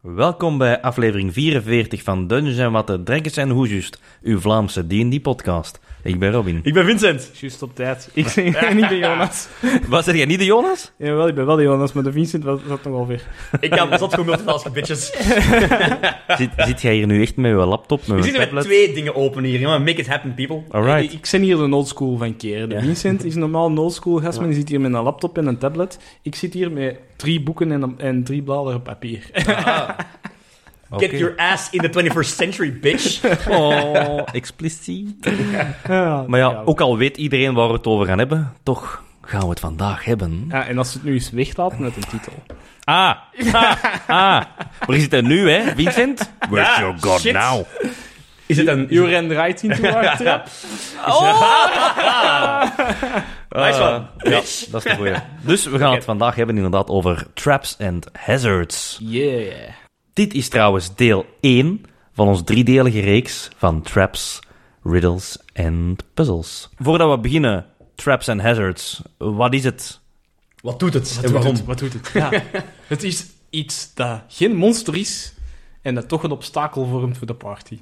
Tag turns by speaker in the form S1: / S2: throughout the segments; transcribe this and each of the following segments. S1: Welkom bij aflevering 44 van Dungeons en Watten, Drekkers en Hoesjust, uw Vlaamse D&D-podcast. Ik ben Robin.
S2: Ik ben Vincent.
S3: Juist op tijd. Ik ben en ik ben Jonas.
S1: Was er jij niet de Jonas?
S3: Jawel, ik ben wel de Jonas, maar de Vincent was, zat nog ongeveer.
S2: Ik kan zat gewoon multitasken, bitches.
S1: Zit, zit jij hier nu echt met je laptop,
S2: We
S1: met je
S2: zitten met
S1: tablet?
S2: twee dingen open hier, jongen. Make it happen, people.
S3: Ik,
S1: Alright.
S3: ik ben hier de old school van keer. De Vincent is normaal een old school gast, maar die zit hier met een laptop en een tablet. Ik zit hier met drie boeken en, een- en drie bladeren papier.
S1: Oké.
S2: Get your ass in the 21st century, bitch.
S1: Oh, expliciet.
S3: Ja,
S1: Maar ja, ook al weet iedereen waar we het over gaan hebben, toch gaan we het vandaag hebben.
S3: Ja, en als ze het nu eens weglaten met een titel.
S1: Ah, ah, ah. We zitten nu, hè, Vincent? Where's
S2: Ja,
S1: your god
S2: shit.
S1: now?
S2: Is het een...
S3: You ran right into our trap.
S2: Nice one,
S1: Eh, ja,
S2: bitch.
S1: dat is de goeie. Dus we gaan het vandaag hebben inderdaad over traps and hazards.
S3: Yeah.
S1: Dit is trouwens deel 1 van ons driedelige reeks van traps, riddles en puzzles. Voordat we beginnen, traps and hazards, wat is het?
S2: Wat doet het
S3: Wat doet
S2: en waarom?
S3: het? Wat doet het? Ja. het is iets dat geen monster is en dat toch een obstakel vormt voor de party.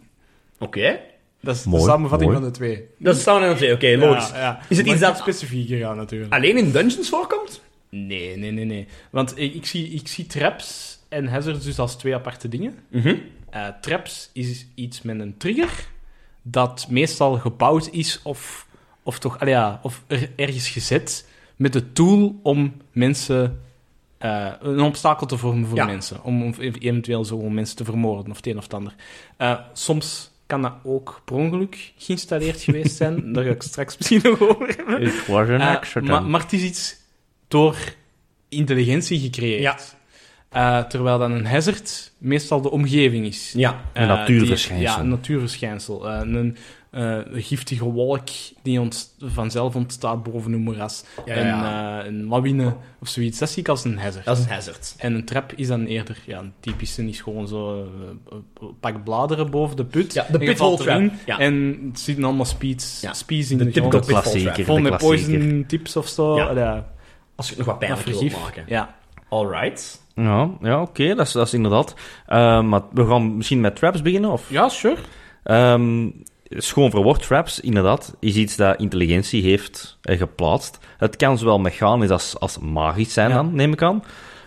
S2: Oké.
S3: Dat is
S1: Mooi,
S3: de samenvatting
S1: mooi.
S3: van de twee.
S2: Dat is samen en twee, oké, logisch.
S3: Ja, ja.
S2: Is het
S3: Maar
S2: iets dat
S3: specifiek gegaan natuurlijk?
S2: alleen in dungeons voorkomt?
S3: Ah, Nee, nee, nee, nee. Want ik, ik zie, ik zie traps en hazards dus als twee aparte dingen.
S2: Mhm.
S3: Eh, traps is iets met een trigger dat meestal gebouwd is of, of toch allee, ja, of er- ergens gezet met het doel om mensen eh, een obstakel te vormen voor
S2: Ja.
S3: mensen. Om, om eventueel zo om mensen te vermoorden of het een of het ander. Eh, soms kan dat ook per ongeluk geïnstalleerd geweest zijn. Daar ga ik straks misschien nog over hebben.
S1: It was an
S3: Eh, maar, maar het is iets door intelligentie gecreëerd.
S2: Ja.
S3: Eh, terwijl dan een hazard meestal de omgeving is.
S2: Ja.
S1: Een
S3: Eh,
S1: natuurverschijnsel.
S3: die- ja, een natuurverschijnsel. Eh, een eh, een giftige wolk die ont- vanzelf ontstaat boven een moeras.
S2: Ja, ja, ja.
S3: Een, eh, een lawine of zoiets. Dat zie ik als een hazard.
S2: Dat is een hazard.
S3: En een trap is dan eerder, ja, een typische is gewoon zo, eh, eh, pak bladeren boven de put.
S2: Ja, de
S3: en je
S2: pit
S3: valt
S2: hole trap.
S3: erin.
S2: Ja.
S3: En het zitten allemaal speeds,
S2: Ja.
S3: speeds in
S2: De
S3: de,
S2: typical
S3: grond.
S1: de klassieker,
S3: Vol
S1: de
S3: met
S1: klassieker.
S3: poison tips of zo.
S2: Ja.
S3: Ja. Ja,
S2: Als je het nog
S3: dat
S2: wat pijnlijk wil
S3: vergif.
S2: maken.
S3: Ja.
S2: Alright.
S1: Ja, ja oké, dat, is, dat is inderdaad. Eh, maar we gaan misschien met traps beginnen, of?
S3: ja, sure.
S1: Ehm schoon verwoord traps, inderdaad, is iets dat intelligentie heeft eh, geplaatst. Het kan zowel mechanisch als, als magisch zijn
S3: Ja.
S1: dan, neem ik aan.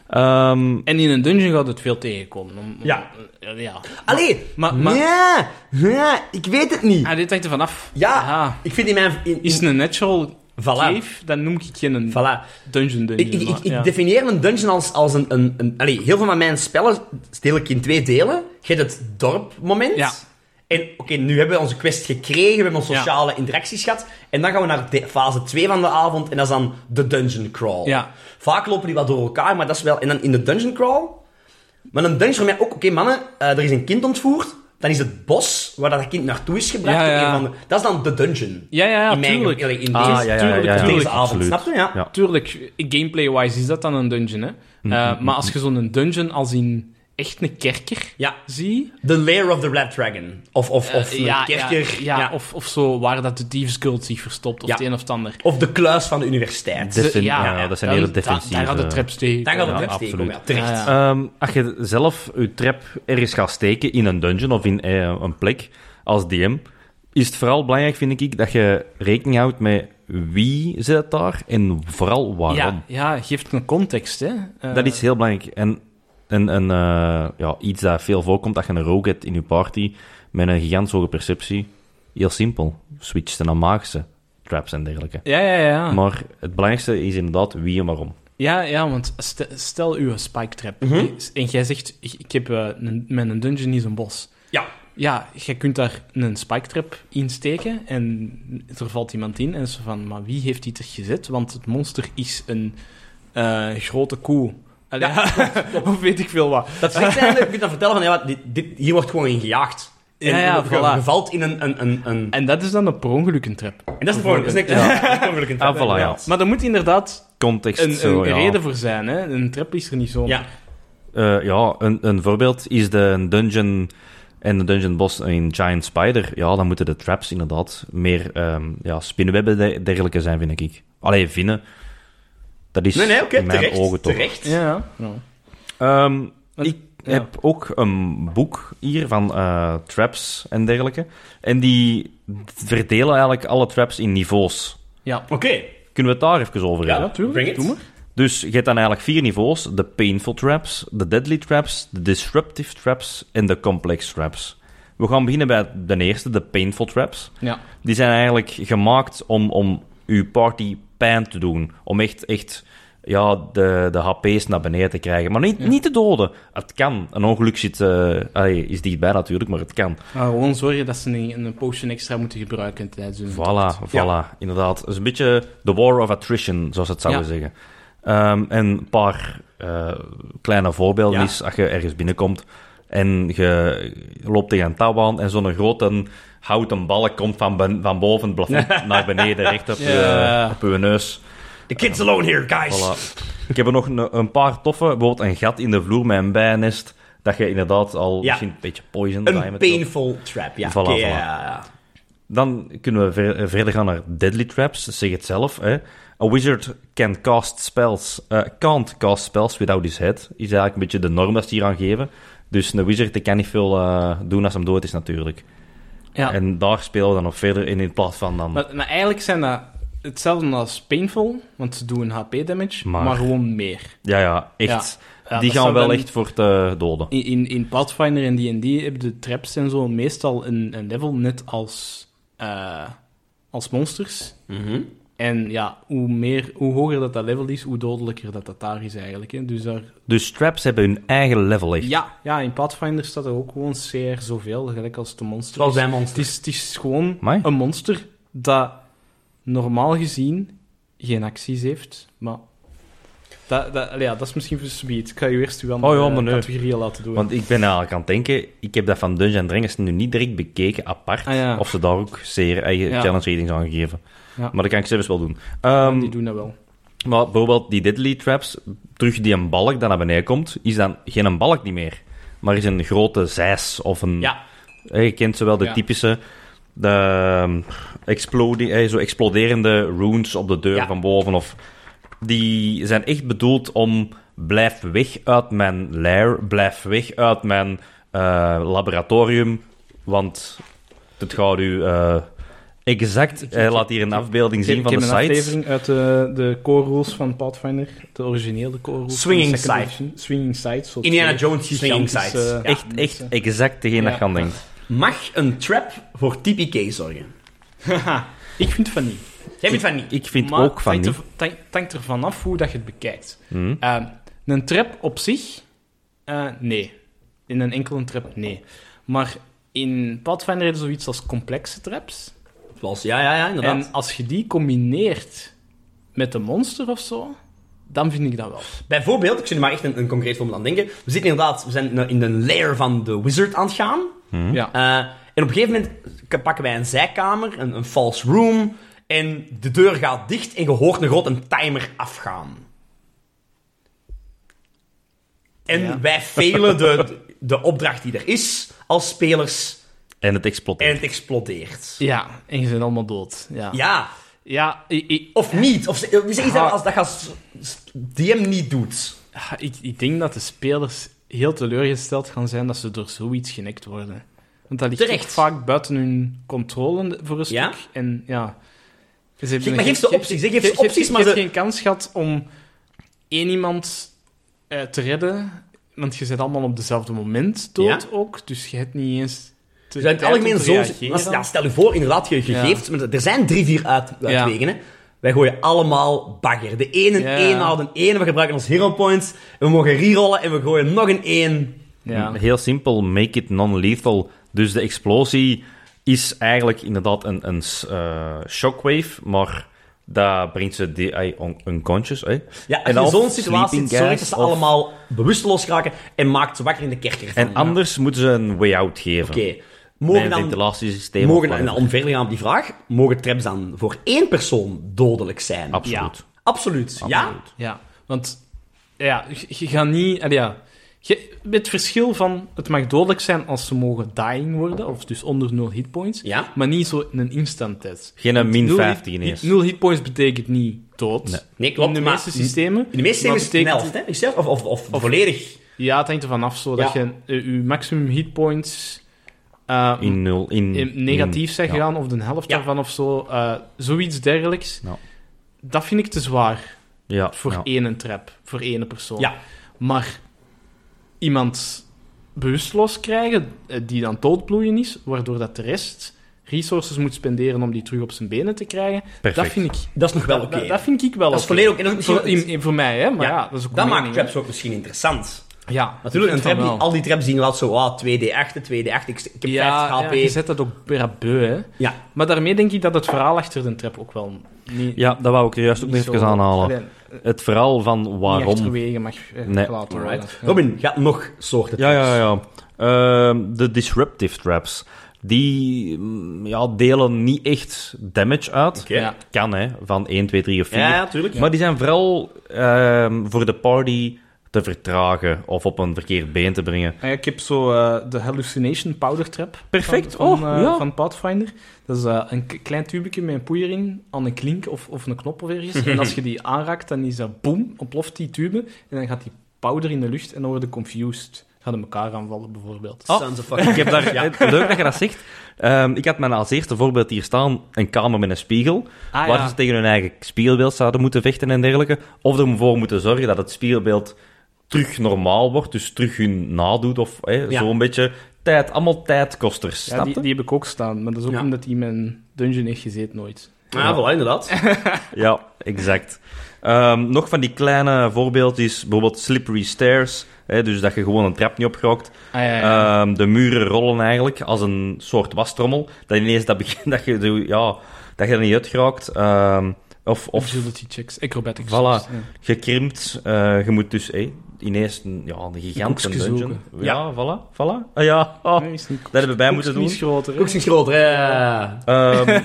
S1: Ehm,
S3: En in een dungeon gaat het veel tegenkomen. Om, om-
S2: Ja.
S3: eh, ja.
S2: Allee!
S3: Maar, maar
S2: Ja, ja, ik weet het niet.
S3: ah, dit hangt er vanaf.
S2: Ja. Ik vind in mijn... in-
S3: Is het een natural
S2: Voilà.
S3: cave, dan noem ik geen een
S2: Voilà.
S3: dungeon
S2: Ik,
S3: dungeon.
S2: ik, ik,
S3: maar-
S2: ik
S3: ja.
S2: definieer een dungeon als, als een... een, een allee, heel veel van mijn spellen deel ik in twee delen. Je hebt het dorpmoment.
S3: Ja.
S2: En oké, nu hebben we onze quest gekregen, we hebben onze
S3: Ja.
S2: sociale interacties gehad. En dan gaan we naar de, fase 2 van de avond en dat is dan de dungeon crawl.
S3: Ja.
S2: Vaak lopen die wat door elkaar, maar dat is wel... En dan in de dungeon crawl... Maar een dungeon voor mij ook... Oké, mannen, eh, er is een kind ontvoerd. Dan is het bos waar dat kind naartoe is gebracht.
S3: Ja,
S2: op
S3: ja,
S2: een
S3: ja.
S2: of andere- dat is dan de dungeon.
S3: ja, ja, ja,
S2: in mijn...
S3: tuurlijk.
S2: allee, In
S1: Ah,
S2: deze,
S1: ja, ja, ja,
S2: tuurlijk,
S1: ja,
S2: in
S1: ja.
S2: deze
S1: Tuurlijk,
S2: avond,
S1: absoluut.
S2: snap je? Ja.
S1: Ja. Mm-hmm,
S3: Tuurlijk, gameplay-wise is dat dan een dungeon, hè. Eh, maar als je zo'n dungeon als in echt een kerker
S2: ja.
S3: zie...
S2: The Lair of the Red Dragon. Of, of, of
S3: eh,
S2: een
S3: ja,
S2: kerker.
S3: ja, ja,
S2: ja.
S3: Of,
S2: Of,
S3: of zo, waar dat de dievenskult zich verstopt, of
S2: Ja.
S3: het een of het ander.
S2: de kluis van de universiteit.
S1: Defen-
S3: Ze-
S1: ja,
S3: ja,
S1: dat zijn
S3: dan-
S1: hele
S3: da-
S1: defensieve...
S3: Daar gaat de traps tegen.
S2: Dan gaan we
S1: Ja,
S2: de trap steken.
S1: absoluut.
S2: Ja, terecht.
S3: Ja, ja.
S1: Ehm, als je zelf je trap ergens gaat steken in een dungeon of in eh, een plek als DM, is het vooral belangrijk, vind ik, dat je rekening houdt met wie zit het daar en vooral waarom.
S3: Ja, ja, geeft een context, hè. Eh,
S1: Dat is heel belangrijk. En, en, en eh, ja, iets dat veel voorkomt, dat je een rogue hebt in je party met een gigantisch hoge perceptie. Heel simpel. Switchen naar magische traps en dergelijke.
S3: Ja, ja, ja.
S1: Maar het belangrijkste is inderdaad wie en waarom.
S3: Ja, ja, want st- stel uw spike trap. En jij zegt, ik, ik heb eh, een, mijn dungeon is een bos.
S2: Ja.
S3: Ja, jij kunt daar een spike trap in steken en er valt iemand in. En zo van, maar wie heeft die er gezet? Want het monster is een eh, grote koe. Allee, of weet ik veel wat.
S2: Dat is zijn. Je kunt dan vertellen van, ja, wat, dit, dit- hier wordt gewoon in gejaagd. En
S3: Ja, ja,
S2: je-
S3: voilà.
S2: je valt in een... een, een, een
S3: En dat is dan een per ongeluk een trap.
S2: en dat is het probleem. Dat is niks.
S1: Ah, voilà, ja.
S3: Maar er moet inderdaad
S1: Context,
S3: een,
S1: zo,
S3: een
S1: ja.
S3: reden voor zijn. Hè? Een trap is er niet zo.
S2: Ja.
S1: Eh, ja, een, een voorbeeld is de dungeon... eh, En de dungeon boss in Giant Spider, ja, dan moeten de traps inderdaad meer ehm, ja, spinnenwebben en dergelijke zijn, vind ik. Allee, vinden. Dat is
S2: Nee, nee, oké,
S1: in mijn
S2: terecht.
S1: ogen toch.
S2: terecht.
S3: Ja. Nou.
S1: Ehm,
S3: Want-
S1: ik
S3: ja.
S1: heb ook een boek hier van eh, traps en dergelijke. En die verdelen eigenlijk alle traps in niveaus.
S3: Ja.
S2: Oké,
S1: Kunnen we het daar even over hebben?
S2: ja, bring it.
S3: Doe maar.
S1: Dus je hebt dan eigenlijk vier niveaus: de painful traps, de deadly traps, de disruptive traps en de complex traps. We gaan beginnen bij de eerste, de painful traps.
S3: Ja.
S1: Die zijn eigenlijk gemaakt om, om uw party pijn te doen. Om echt, echt ja, de, de HP's naar beneden te krijgen. Maar niet, niet te doden. Het kan. Een ongeluk zit, eh, allee, is dichtbij natuurlijk, maar het kan.
S3: Maar gewoon zorgen dat ze niet een potion extra moeten gebruiken tijdens hun
S1: Voilà, voilà, inderdaad. Het is een beetje de war of attrition, zoals ze het zouden
S3: Ja.
S1: zeggen. Ehm, en een paar eh, kleine voorbeelden
S2: Ja.
S1: is als je ergens binnenkomt en je loopt tegen een touw aan en zo'n grote houten balk komt van, ben- van boven het plafond naar beneden, recht op,
S3: Ja.
S1: je, op je neus.
S2: The kid's alone here, guys.
S1: Voilà. Ik heb er nog een, een paar toffe, bijvoorbeeld een gat in de vloer met een bijennest, dat je inderdaad al
S2: Ja.
S1: misschien een beetje poison bij
S2: Een
S1: met-
S2: painful trap, ja.
S1: Voilà,
S2: oké,
S1: voilà.
S2: ja, ja, ja.
S1: Dan kunnen we ver- eh, verder gaan naar deadly traps. Zeg het zelf. Hè. A wizard can cast spells, eh, can't cast spells without his head. Is eigenlijk een beetje de norm dat ze hier aan geven. Dus een wizard die kan niet veel eh, doen als hem dood is natuurlijk.
S3: Ja.
S1: En daar spelen we dan nog verder in in plaats van dan...
S3: Maar, maar eigenlijk zijn dat hetzelfde als painful, want ze doen HP damage, maar,
S1: Maar-
S3: gewoon meer.
S1: Ja, ja, echt.
S3: Ja,
S1: Die
S3: dat
S1: gaan
S3: zou
S1: wel
S3: dan-
S1: echt voor het eh, doden.
S3: In, in, in Pathfinder en D&D hebben de traps en zo meestal een, een level net als, eh, als monsters.
S2: Mhm.
S3: En ja, hoe, meer, hoe hoger dat, dat level is, hoe dodelijker dat, dat daar is eigenlijk. Hè. Dus daar,
S1: Dus traps hebben hun eigen level echt.
S3: ja, ja, in Pathfinder staat er ook gewoon CR zoveel, gelijk als de monster.
S2: Zoals
S3: is.
S2: bij
S3: Het
S2: monsters.
S3: is, het is gewoon
S1: Amai.
S3: een monster dat normaal gezien geen acties heeft, maar... Dat, dat, allee, ja, dat is misschien voor subiet. Ik ga je eerst uw andere
S1: Oh ja, maar nee.
S3: categorieën laten doen.
S1: Want ik ben eigenlijk aan het denken, ik heb dat van Dungeon Dragons nu niet direct bekeken, apart,
S3: Ah, ja.
S1: of ze daar ook zeer eigen
S3: Ja.
S1: challenge ratings aan geven.
S3: Ja.
S1: Maar dat kan ik zelfs wel doen. Ehm,
S3: die doen dat wel.
S1: maar bijvoorbeeld die deadly traps, terug die een balk dat naar beneden komt, is dan geen een balk niet meer, maar is een grote zes of een...
S3: Ja.
S1: Hè, je kent zowel de
S3: Ja.
S1: typische, de, ehm, explode, hè, zo exploderende runes op de deur
S2: Ja.
S1: van boven, of die zijn echt bedoeld om blijf weg uit mijn lair, blijf weg uit mijn eh, laboratorium, want het gaat u eh, exact, hij laat hier een afbeelding zien van de
S3: Ik heb een
S1: site.
S3: aflevering uit de, de core rules van Pathfinder, de originele core rules. van
S2: Swinging
S3: de second
S2: Side.
S3: edition. Swinging Sides.
S2: Indiana Jones swinging sides.
S1: eh,
S3: eh,
S1: Echt, echt exact degene
S3: Ja.
S1: dat je aan denkt.
S2: Mag een trap voor TPK zorgen?
S3: ik vind van niet.
S2: Jij vindt van niet.
S1: Ik vind
S3: Maar
S1: ook van
S3: het
S1: niet.
S3: hangt er- Het hangt- het hangt er vanaf hoe dat je het bekijkt.
S1: Hm?
S3: Eh, een trap op zich, eh, nee. In een enkele trap, nee. Maar in Pathfinder hebben ze zoiets als complexe traps.
S2: Zoals- Ja, ja, ja, inderdaad.
S3: En als je die combineert met een monster of zo, dan vind ik dat wel.
S2: Bijvoorbeeld, ik zit nu maar echt een, een concreet voorbeeld aan het denken. We zitten inderdaad, we zijn in een lair van de wizard aan het gaan.
S3: Ja.
S2: Eh, en op een gegeven moment k- pakken wij een zijkamer, een, een false room. En de deur gaat dicht en je hoort een grote timer afgaan. En
S3: Ja.
S2: wij failen de, de opdracht die er is als spelers
S1: En het
S2: en
S1: explodeert.
S2: het explodeert.
S3: ja, en je bent allemaal dood. Ja,
S2: Ja,
S3: ja ik, ik,
S2: of niet. Of, ze- is er iets
S3: Ja.
S2: dat als, dat als DM niet doet?
S3: ah, ik, ik denk dat de spelers heel teleurgesteld gaan zijn dat ze door zoiets genekt worden. Want dat ligt
S2: Terecht.
S3: echt vaak buiten hun controle voor een stuk.
S2: Ja?
S3: En ja... Ze hebben
S2: Zeg, maar
S3: geen-
S2: geef ze opties. Zeg, geef ze opties, maar
S3: je
S2: ze...
S3: hebt geen kans gehad om één iemand eh, te redden, want je zit allemaal op dezelfde moment dood ook, dus je hebt niet eens te
S2: Dus in het
S3: tijd om
S2: algemeen
S3: te
S2: zo...
S3: reageren.
S2: als- ja, stel je voor, inderdaad, je, je
S3: Ja.
S2: geeft... maar er zijn drie, vier uit,
S3: Ja.
S2: uitwegen, hè. Wij gooien allemaal bagger. De ene
S3: Ja.
S2: een na de ene. We gebruiken ons hero points. En we mogen rerollen en we gooien nog een één.
S3: Ja.
S1: Mm, Heel simpel, make it non-lethal. Dus de explosie is eigenlijk inderdaad een, een s- eh, shockwave, maar dat brengt ze die, ai, on- unconscious. Hè? En
S2: Ja, en in
S1: of
S2: zo'n situatie
S1: sleeping
S2: zorgt dat
S1: gas
S2: ze
S1: of-
S2: allemaal bewusteloos raken en maakt ze wakker in de kerker.
S1: En anders moeten ze een way out geven.
S2: Oké.
S1: Met
S2: Mogen
S1: een
S2: dan...
S1: ventilatiesysteem. of
S2: Mogen, en
S1: whatever.
S2: dan om verder te gaan op die vraag, mogen traps dan voor één persoon dodelijk zijn?
S1: eh, Absoluut.
S2: Absoluut, ja?
S1: Absoluut.
S3: Ja, want ja, je, je gaat niet... allee, ja, Je, het verschil van het mag dodelijk zijn als ze mogen dying worden, of dus onder 0 hitpoints,
S2: Ja?
S3: maar niet zo in een instant test.
S1: Geen een min
S3: Nul hit-
S1: 15 ineens.
S3: 0 hitpoints betekent niet dood.
S1: Nee.
S2: Nee, klopt.
S3: in de
S2: maar
S3: meeste systemen.
S2: in de meeste systemen
S3: maar
S2: is het een
S3: betekent-
S2: helft, hè? Is het helft? Of, of, of, volledig.
S3: Ja, het hangt ervan af, zo dat
S2: Ja.
S3: je eh, je maximum hitpoints eh,
S1: In nul. In,
S3: in negatief
S1: in-
S3: zijn
S1: ja.
S3: gegaan, of de helft
S2: Ja.
S3: daarvan of zo. eh, zoiets dergelijks.
S1: Ja.
S3: Dat vind ik te zwaar
S1: Ja,
S3: voor
S1: ja.
S3: één trap, voor één persoon.
S2: Ja.
S3: Maar iemand bewusteloos krijgen, eh, die dan doodbloeien is, waardoor dat de rest resources moet spenderen om die terug op zijn benen te krijgen, dat
S1: Perfect.
S3: vind ik...
S2: Dat is nog wel
S3: dat-
S2: oké.
S3: Dat, dat vind ik wel
S2: Dat is
S3: oké.
S2: volledig oké. Dat is
S3: Voor,
S2: misschien-
S3: in- in- voor mij, hè? Maar ja,
S2: Ja,
S3: dat is ook
S2: Dat
S3: mijn
S2: maakt
S3: mening,
S2: traps ook misschien interessant.
S3: hè. Ja,
S2: Natuurlijk, een
S3: ik vind
S2: trap,
S3: van
S2: die,
S3: wel.
S2: al die traps zien wel zo, ah, 2D8, 2D8, ik, ik heb 50
S3: ja,
S2: HP.
S3: je zet dat ook per abeu, hè.
S2: Ja.
S3: Maar daarmee denk ik dat het verhaal achter de trap ook wel niet...
S1: Ja, dat wou ik er juist ook nog
S3: niet zo-
S1: even aanhalen.
S3: Allee,
S1: Het verhaal van
S3: Niet
S1: waarom
S3: achterwege mag eh,
S1: Nee.
S3: gelaten worden.
S2: Alright. Robin, gaat nog soorten
S1: Ja,
S2: traps.
S1: ja, ja. Ehm, de disruptive traps. Die mm, ja, delen niet echt damage uit.
S2: Oké.
S3: Ja.
S1: Kan, hè. Van 1, 2, 3 of 4.
S2: Ja, ja, tuurlijk.
S1: Maar die zijn vooral ehm, voor de party te vertragen of op een verkeerd been te brengen.
S3: Ah, Ja, Ik heb zo eh, de Hallucination Powder Trap.
S1: Perfect.
S3: Van, van,
S1: Oh,
S3: eh,
S1: ja.
S3: van Pathfinder. Dat is eh, een k- klein tubetje met een poeier in, aan een klink of, of een knop of ergens. en als je die aanraakt, dan is dat boem, ontploft die tube. En dan gaat die powder in de lucht en dan worden confused. Gaan ze elkaar aanvallen, bijvoorbeeld.
S1: Oh.
S2: Sounds of
S1: Ik
S2: fucking...
S1: heb daar, eh, Leuk dat je dat zegt. Ehm, ik had mijn als eerste voorbeeld hier staan, een kamer met een spiegel,
S3: Ah,
S1: waar
S3: ja.
S1: ze tegen hun eigen spiegelbeeld zouden moeten vechten en dergelijke. Of ervoor moeten zorgen dat het spiegelbeeld terug normaal wordt, dus terug hun nadoet of eh,
S2: Ja.
S1: zo'n beetje tijd, allemaal tijdkosters.
S3: Ja,
S1: snap
S3: die,
S1: je?
S3: die heb ik ook staan. Maar dat is ook
S2: Ja.
S3: omdat die in mijn dungeon heeft gezeten nooit.
S2: Ja, voilà, inderdaad.
S1: Ja, exact. Ehm, nog van die kleine voorbeeld is bijvoorbeeld slippery stairs. Hè, dus dat je gewoon een trap niet opgerookt.
S3: Ah, ja, ja.
S1: Ehm, de muren rollen eigenlijk als een soort wastrommel. Dat ineens dat begin, dat je, zo- ja, dat je er niet uit geraakt. Ehm, of, of
S3: Agility checks, acrobatics.
S1: Voilà.
S3: checks, ja.
S1: gekrimpt. Eh, je moet dus hé, ineens een, ja, een gigantische
S3: koekske
S1: dungeon.
S3: zoeken.
S1: Ja, voilà. voilà. Ah, ja, ah,
S3: Nee, is niet
S1: dat hebben wij moeten
S3: Koeks
S1: doen.
S3: is groter, hè?
S2: Ook iets groter, hè.
S1: Ehm,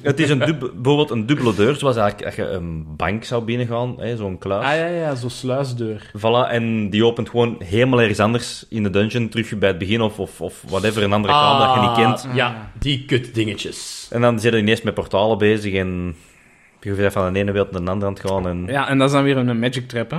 S1: het is een dub- bijvoorbeeld een dubbele deur, zoals eigenlijk dat je een bank zou binnengaan, hè, zo'n kluis.
S3: Ah ja, ja, zo'n sluisdeur.
S1: Voilà, en die opent gewoon helemaal ergens anders in de dungeon, terug bij het begin of, of, of whatever, een andere kamer dat je niet kent.
S2: Ah, Ja, die kut dingetjes.
S1: En dan zitten je ineens met portalen bezig en je hoeft even van de ene wereld naar de andere aan het gaan. En
S3: Ja, Mm. en dat is dan weer een magic trap, hè?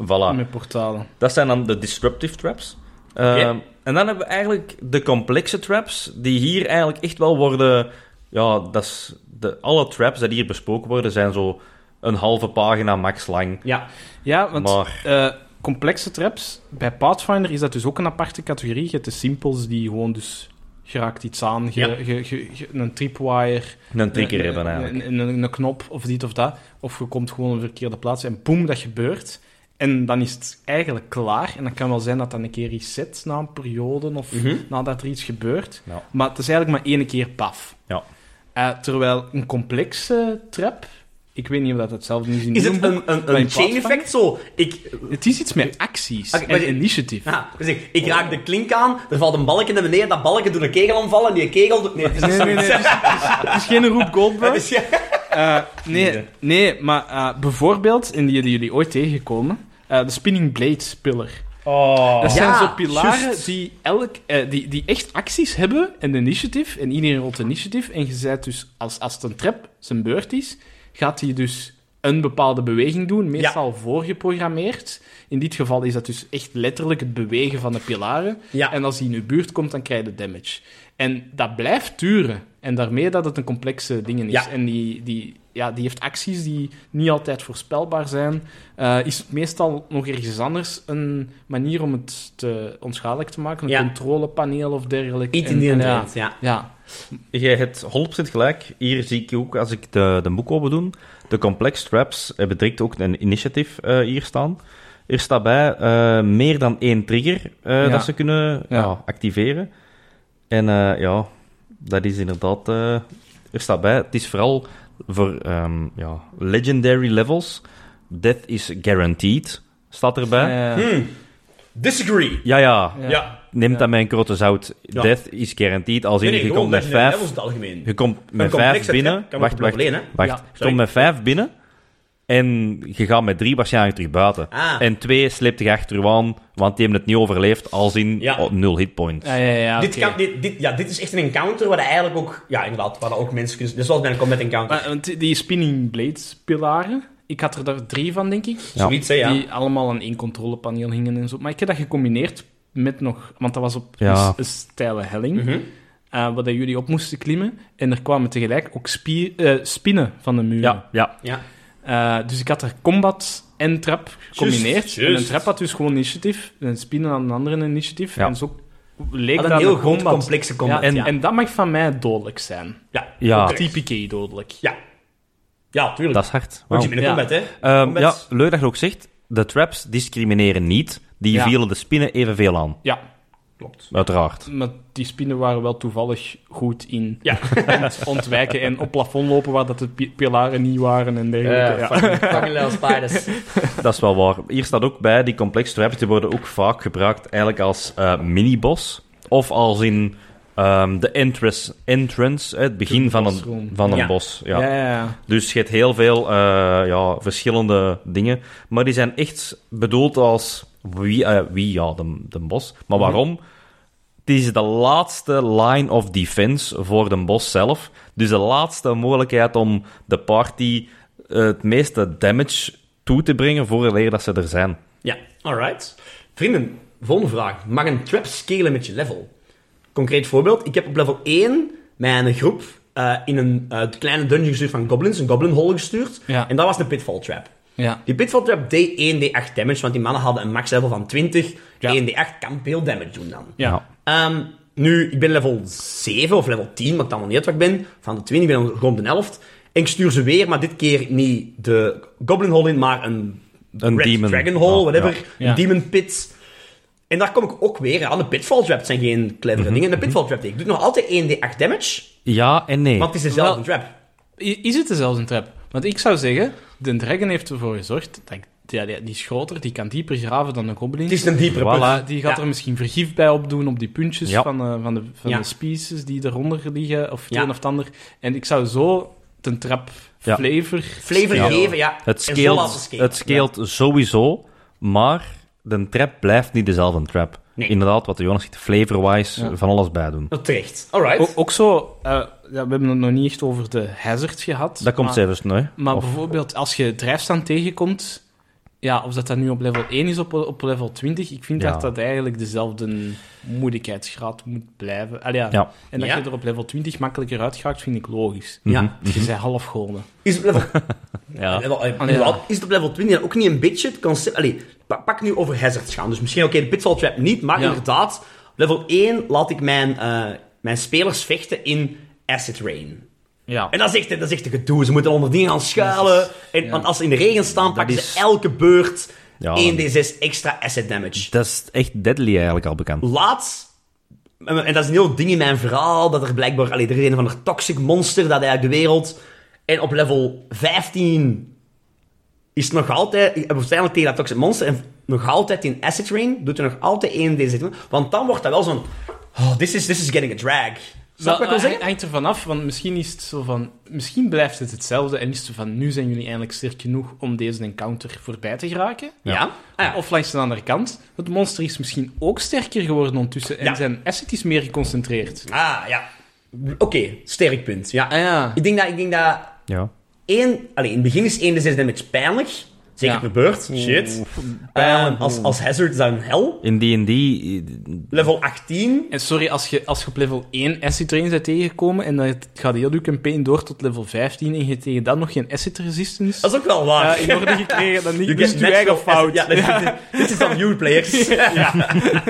S1: voilà.
S3: Met portalen.
S1: Dat zijn dan de disruptive traps.
S2: Oké.
S1: Ehm, En dan hebben we eigenlijk de complexe traps, die hier eigenlijk echt wel worden... Ja, dat is de, alle traps die hier besproken worden, zijn zo een halve pagina max lang.
S2: Ja,
S3: Ja, want
S1: Maar-
S3: eh, complexe traps, bij Pathfinder is dat dus ook een aparte categorie. Je hebt de simples die gewoon dus... Je raakt iets aan, je,
S2: Ja.
S3: je, je- je- een tripwire...
S1: Een trigger
S3: een-
S1: hebben eigenlijk.
S3: Eh, Een, een, een knop, of dit of dat. Of je komt gewoon op een verkeerde plaats en boem, dat gebeurt. En dan is het eigenlijk klaar. En dan kan wel zijn dat dan een keer reset na een periode of
S2: Mhm.
S3: nadat er iets gebeurt.
S1: Ja.
S3: Maar het is eigenlijk maar één keer paf.
S1: Ja.
S3: Eh, terwijl een complexe trap, ik weet niet of dat hetzelfde is in
S2: is
S3: uw
S1: Mm.
S2: het
S3: boek.
S2: een, een,
S3: Mijn
S2: een chain
S3: platform?
S2: effect zo? Ik,
S3: Het is iets met acties
S2: Oké, maar
S3: en
S2: je-
S3: initiatief.
S2: ah, dus ik,
S1: Oh.
S2: ik raak de klink aan, er valt een balkje naar beneden, dat balkje doet een kegel omvallen, die kegel doet... Nee, het is
S3: Nee, nee, nee. Het is, het is geen Roep Goldberg.
S2: Dus ja.
S3: Eh, nee, nee, maar eh, bijvoorbeeld, en die die jullie ooit tegenkomen, eh, de Spinning Blades pillar.
S1: Oh.
S3: Dat zijn
S2: Ja,
S3: zo pilaren
S2: juist.
S3: die, elk, eh, die, die echt acties hebben en initiatief. En iedereen rolt initiatief. En je zet dus, als, als het een trap zijn beurt is, gaat hij dus een bepaalde beweging doen. Meestal voorgeprogrammeerd. In dit geval is dat dus echt letterlijk het bewegen van de pilaren.
S2: Ja.
S3: En als die in je buurt komt, dan krijg je damage. En dat blijft duren. En daarmee dat het een complexe ding is.
S2: Ja.
S3: En die, die, ja, die heeft acties die niet altijd voorspelbaar zijn. Eh, is het meestal nog ergens anders een manier om het te, onschadelijk te maken? Een
S2: Ja.
S3: controlepaneel of dergelijke.
S2: Iets
S3: En-
S2: in die
S3: en
S2: trend, ja.
S3: Ja, ja.
S1: Jij hebt 100% gelijk. Hier zie ik ook, als ik de, de boek open doe, de complex traps hebben direct ook een initiative eh, hier staan. Er staat bij eh, meer dan één trigger eh,
S3: Ja.
S1: dat ze kunnen
S3: Ja.
S1: ja, activeren. En eh, ja, dat is inderdaad... eh, er staat bij, het is vooral voor ehm, ja, legendary levels. Death is guaranteed, staat erbij.
S3: Eh,
S2: Hmm. Disagree.
S1: Ja, ja.
S3: Ja.
S1: Neem
S3: Ja.
S1: dat mijn grote zout.
S2: Ja.
S1: Death is guaranteed. Als in, je komt met
S2: Dat
S1: vijf...
S2: was het algemeen.
S1: Je komt
S2: Een
S1: met
S2: complexe
S1: vijf binnen.
S2: trap kan
S1: wacht,
S2: ook een
S1: wacht.
S2: probleem, hè?
S1: wacht.
S3: Ja,
S1: je
S2: sorry.
S1: komt met vijf binnen. En je gaat met drie waarschijnlijk terug buiten.
S2: Ah.
S1: En twee sleept je achter je aan, want die hebben het niet overleefd, als in
S2: Ja.
S1: oh, nul hitpoints.
S3: Ja, ja, ja.
S2: Dit,
S3: oké.
S2: kan, dit, dit, ja, dit is echt een encounter waar eigenlijk ook... Ja, inderdaad, waar ook mensen kunnen... Dus zoals bij een combat encounter.
S3: Maar, want die- die spinning blades pilaren, ik had er daar drie van, denk ik.
S1: ja.
S2: Zoiets, hè, ja.
S3: Die allemaal aan één controlepaneel hingen en zo. Maar ik heb dat gecombineerd met nog... Want dat was op
S1: Ja.
S3: een, een steile helling.
S2: Mhm.
S3: eh, waar dat jullie op moesten klimmen. En er kwamen tegelijk ook spier, eh, spinnen van de muren.
S1: ja, ja.
S2: Ja.
S3: Eh, dus ik had er combat en trap gecombineerd. En
S2: juist.
S3: een trap had dus gewoon initiatief. En spinnen had een andere initiatief.
S1: Ja.
S3: En zo leek
S2: Had
S3: dat
S2: een heel
S3: de
S2: groot,
S3: combat-
S2: complexe combat.
S3: Ja, en,
S2: Ja,
S3: en dat mag van mij dodelijk zijn.
S2: ja.
S1: Ja.
S2: correct.
S3: TPK dodelijk.
S2: Ja. Ja, tuurlijk.
S1: dat is hard.
S2: Want
S1: Wauw.
S2: je bent in een
S3: Ja.
S2: combat, hè.
S1: Ehm,
S2: Combat.
S1: ja, leuk dat je ook zegt, de traps discrimineren niet. Die
S3: Ja.
S1: vielen de spinnen evenveel aan,
S3: Ja,
S2: Klopt.
S1: uiteraard.
S3: maar die spinnen waren wel toevallig goed in
S2: Ja.
S3: ont- ontwijken en op plafond lopen waar dat de pi- pilaren niet waren en dergelijke. ja.
S2: Eh, Fucking little spiders.
S1: Dat is wel waar. Hier staat ook bij, die complex traps die worden ook vaak gebruikt eigenlijk als eh mini-boss. Of als in ehm, de entrance, entrance hè, het begin
S3: De
S1: van een,
S3: bossroom.
S1: van een
S2: Ja.
S1: bos. Ja.
S3: Ja, ja, ja.
S1: Dus je hebt heel veel eh, ja, verschillende dingen. Maar die zijn echt bedoeld als wie, eh, wie ja, de, de bos. Maar
S2: Mhm.
S1: waarom? Het is de laatste line of defense voor de bos zelf. Dus de laatste mogelijkheid om de party eh, het meeste damage toe te brengen voor leer dat ze er zijn.
S2: Ja, alright. Vrienden, volgende vraag. Mag een trap scalen met je level? Concreet voorbeeld, ik heb op level 1 mijn groep eh, in een eh, kleine dungeon gestuurd van goblins, een goblin hole gestuurd.
S3: Ja.
S2: En dat was een pitfall trap.
S3: ja.
S2: Die pitfall trap deed 1d8 damage, want die mannen hadden een max level van 20.
S3: Ja.
S2: 1d8 kan veel damage doen dan.
S3: Ja.
S2: Ehm, nu, ik ben level 7 of level 10, maakt allemaal niet uit wat ik ben. Van de 20, ik ben rond de 11. En ik stuur ze weer, maar dit keer niet de Goblin Hole in, maar een,
S1: Een
S2: Red
S1: demon.
S2: Dragon Hole,
S1: Ja,
S2: whatever.
S3: ja.
S2: Een Demon Pit. En daar kom ik ook weer aan. De Pitfall Trap zijn geen clevere dingen. De Pitfall Trap, ik doe nog altijd 1d8 damage,
S1: Ja en nee.
S2: want het is dezelfde
S3: Wel-
S2: trap.
S3: I- Is het dezelfde trap? Want ik zou zeggen, de dragon heeft ervoor gezorgd dat ik- ja, die, die is groter, die kan dieper graven dan een goblin.
S2: Het is een diepere put.
S3: Voilà, die gaat
S2: Ja.
S3: er misschien vergif bij opdoen op die puntjes
S1: Ja.
S3: van, eh, van, de, van
S2: Ja.
S3: de species die eronder liggen, of het
S2: Ja.
S3: een of het ander. En ik zou zo de trap
S1: Ja.
S3: flavor...
S2: Flavor
S1: Ja.
S2: geven, ja.
S1: Het
S2: En zo laten
S1: scaleert,
S2: scalen.
S1: het scaleert sowieso, maar de trap blijft niet dezelfde trap.
S2: Nee.
S1: Inderdaad, wat de Jonas zegt, flavor-wise,
S3: Ja.
S1: van alles bij doen.
S2: Ja. Terecht. Alright.
S3: O- ook zo, eh, ja, we hebben het nog niet echt over de hazards gehad.
S1: Dat komt
S3: maar-
S1: zelfs nu.
S3: Maar
S1: Of-
S3: bijvoorbeeld, als je drijfstand tegenkomt, ja, of dat dat nu op level 1 is of op, op level 20, ik vind
S1: Ja.
S3: dat dat eigenlijk dezelfde moeilijkheidsgraad moet blijven. Allee, ja.
S1: Ja.
S3: En dat
S2: Ja.
S3: je er op level 20 makkelijker uitgaat, vind ik logisch.
S2: Ja.
S3: Je bent half golden.
S2: Is het level
S1: Ja.
S2: Level- eh,
S3: Allee,
S2: inderdaad,
S3: ja.
S2: Is het op level 20 dan ook niet een beetje het concept... Allee, pa- pak nu over hazards gaan. Dus misschien, oké, de pitfall trap niet, maar
S3: Ja.
S2: inderdaad, level 1 laat ik mijn, eh, mijn spelers vechten in acid rain.
S3: Ja.
S2: En dat is echt, dat is echt een gedoe. Ze moeten onder dingen gaan schuilen.
S3: Dat
S2: en,
S3: ja.
S2: Want als ze in de regen staan, pakken
S1: is-
S2: ze elke beurt
S1: Ja.
S2: 1d6 extra acid damage.
S1: Dat is echt deadly eigenlijk al bekend.
S2: Laatst... En en dat is een heel ding in mijn verhaal, dat er blijkbaar... Allee, er is een van de toxic monster, dat eigenlijk de wereld... En op level 15 is het nog altijd... eh, Waarschijnlijk tegen dat toxic monster. En nog altijd in Acid Rain doet er nog altijd één deze. Want dan wordt dat wel zo'n... Oh, this is, this is getting a drag. Snap je wat ik wil
S3: Wel, eh,
S2: zeggen?
S3: het hangt ervan af, want misschien is het zo van... Misschien blijft het hetzelfde en is het van... Nu zijn jullie eindelijk sterk genoeg om deze encounter voorbij te geraken.
S1: Ja.
S2: Ja. Ah, ja.
S3: Of langs de andere kant. Het monster is misschien ook sterker geworden ondertussen. En
S2: Ja.
S3: zijn asset is meer geconcentreerd.
S2: Ah, ja. Oké, sterk punt. Ja.
S3: Ah ja.
S2: Ik denk dat... Ik denk dat
S1: Ja.
S2: één, allee, in het begin is 1 de 6 damage pijnlijk. Zeker
S3: Ja.
S2: per beurt. Shit. Ehm, als, als hazard is dat een hel.
S1: In D&D...
S2: Level 18.
S3: En sorry, als je, als je op level 1 acid train bent tegengekomen en het gaat heel je campaign door tot level 15 en je hebt tegen dat nog geen acid resistance
S2: Dat is ook wel waar.
S3: eh, in orde gekregen, dan niet,
S2: You
S3: is
S2: get
S3: het je
S2: natural
S3: eigen
S2: acid-
S3: fout.
S2: Ja, dat is- Dit is on you, players.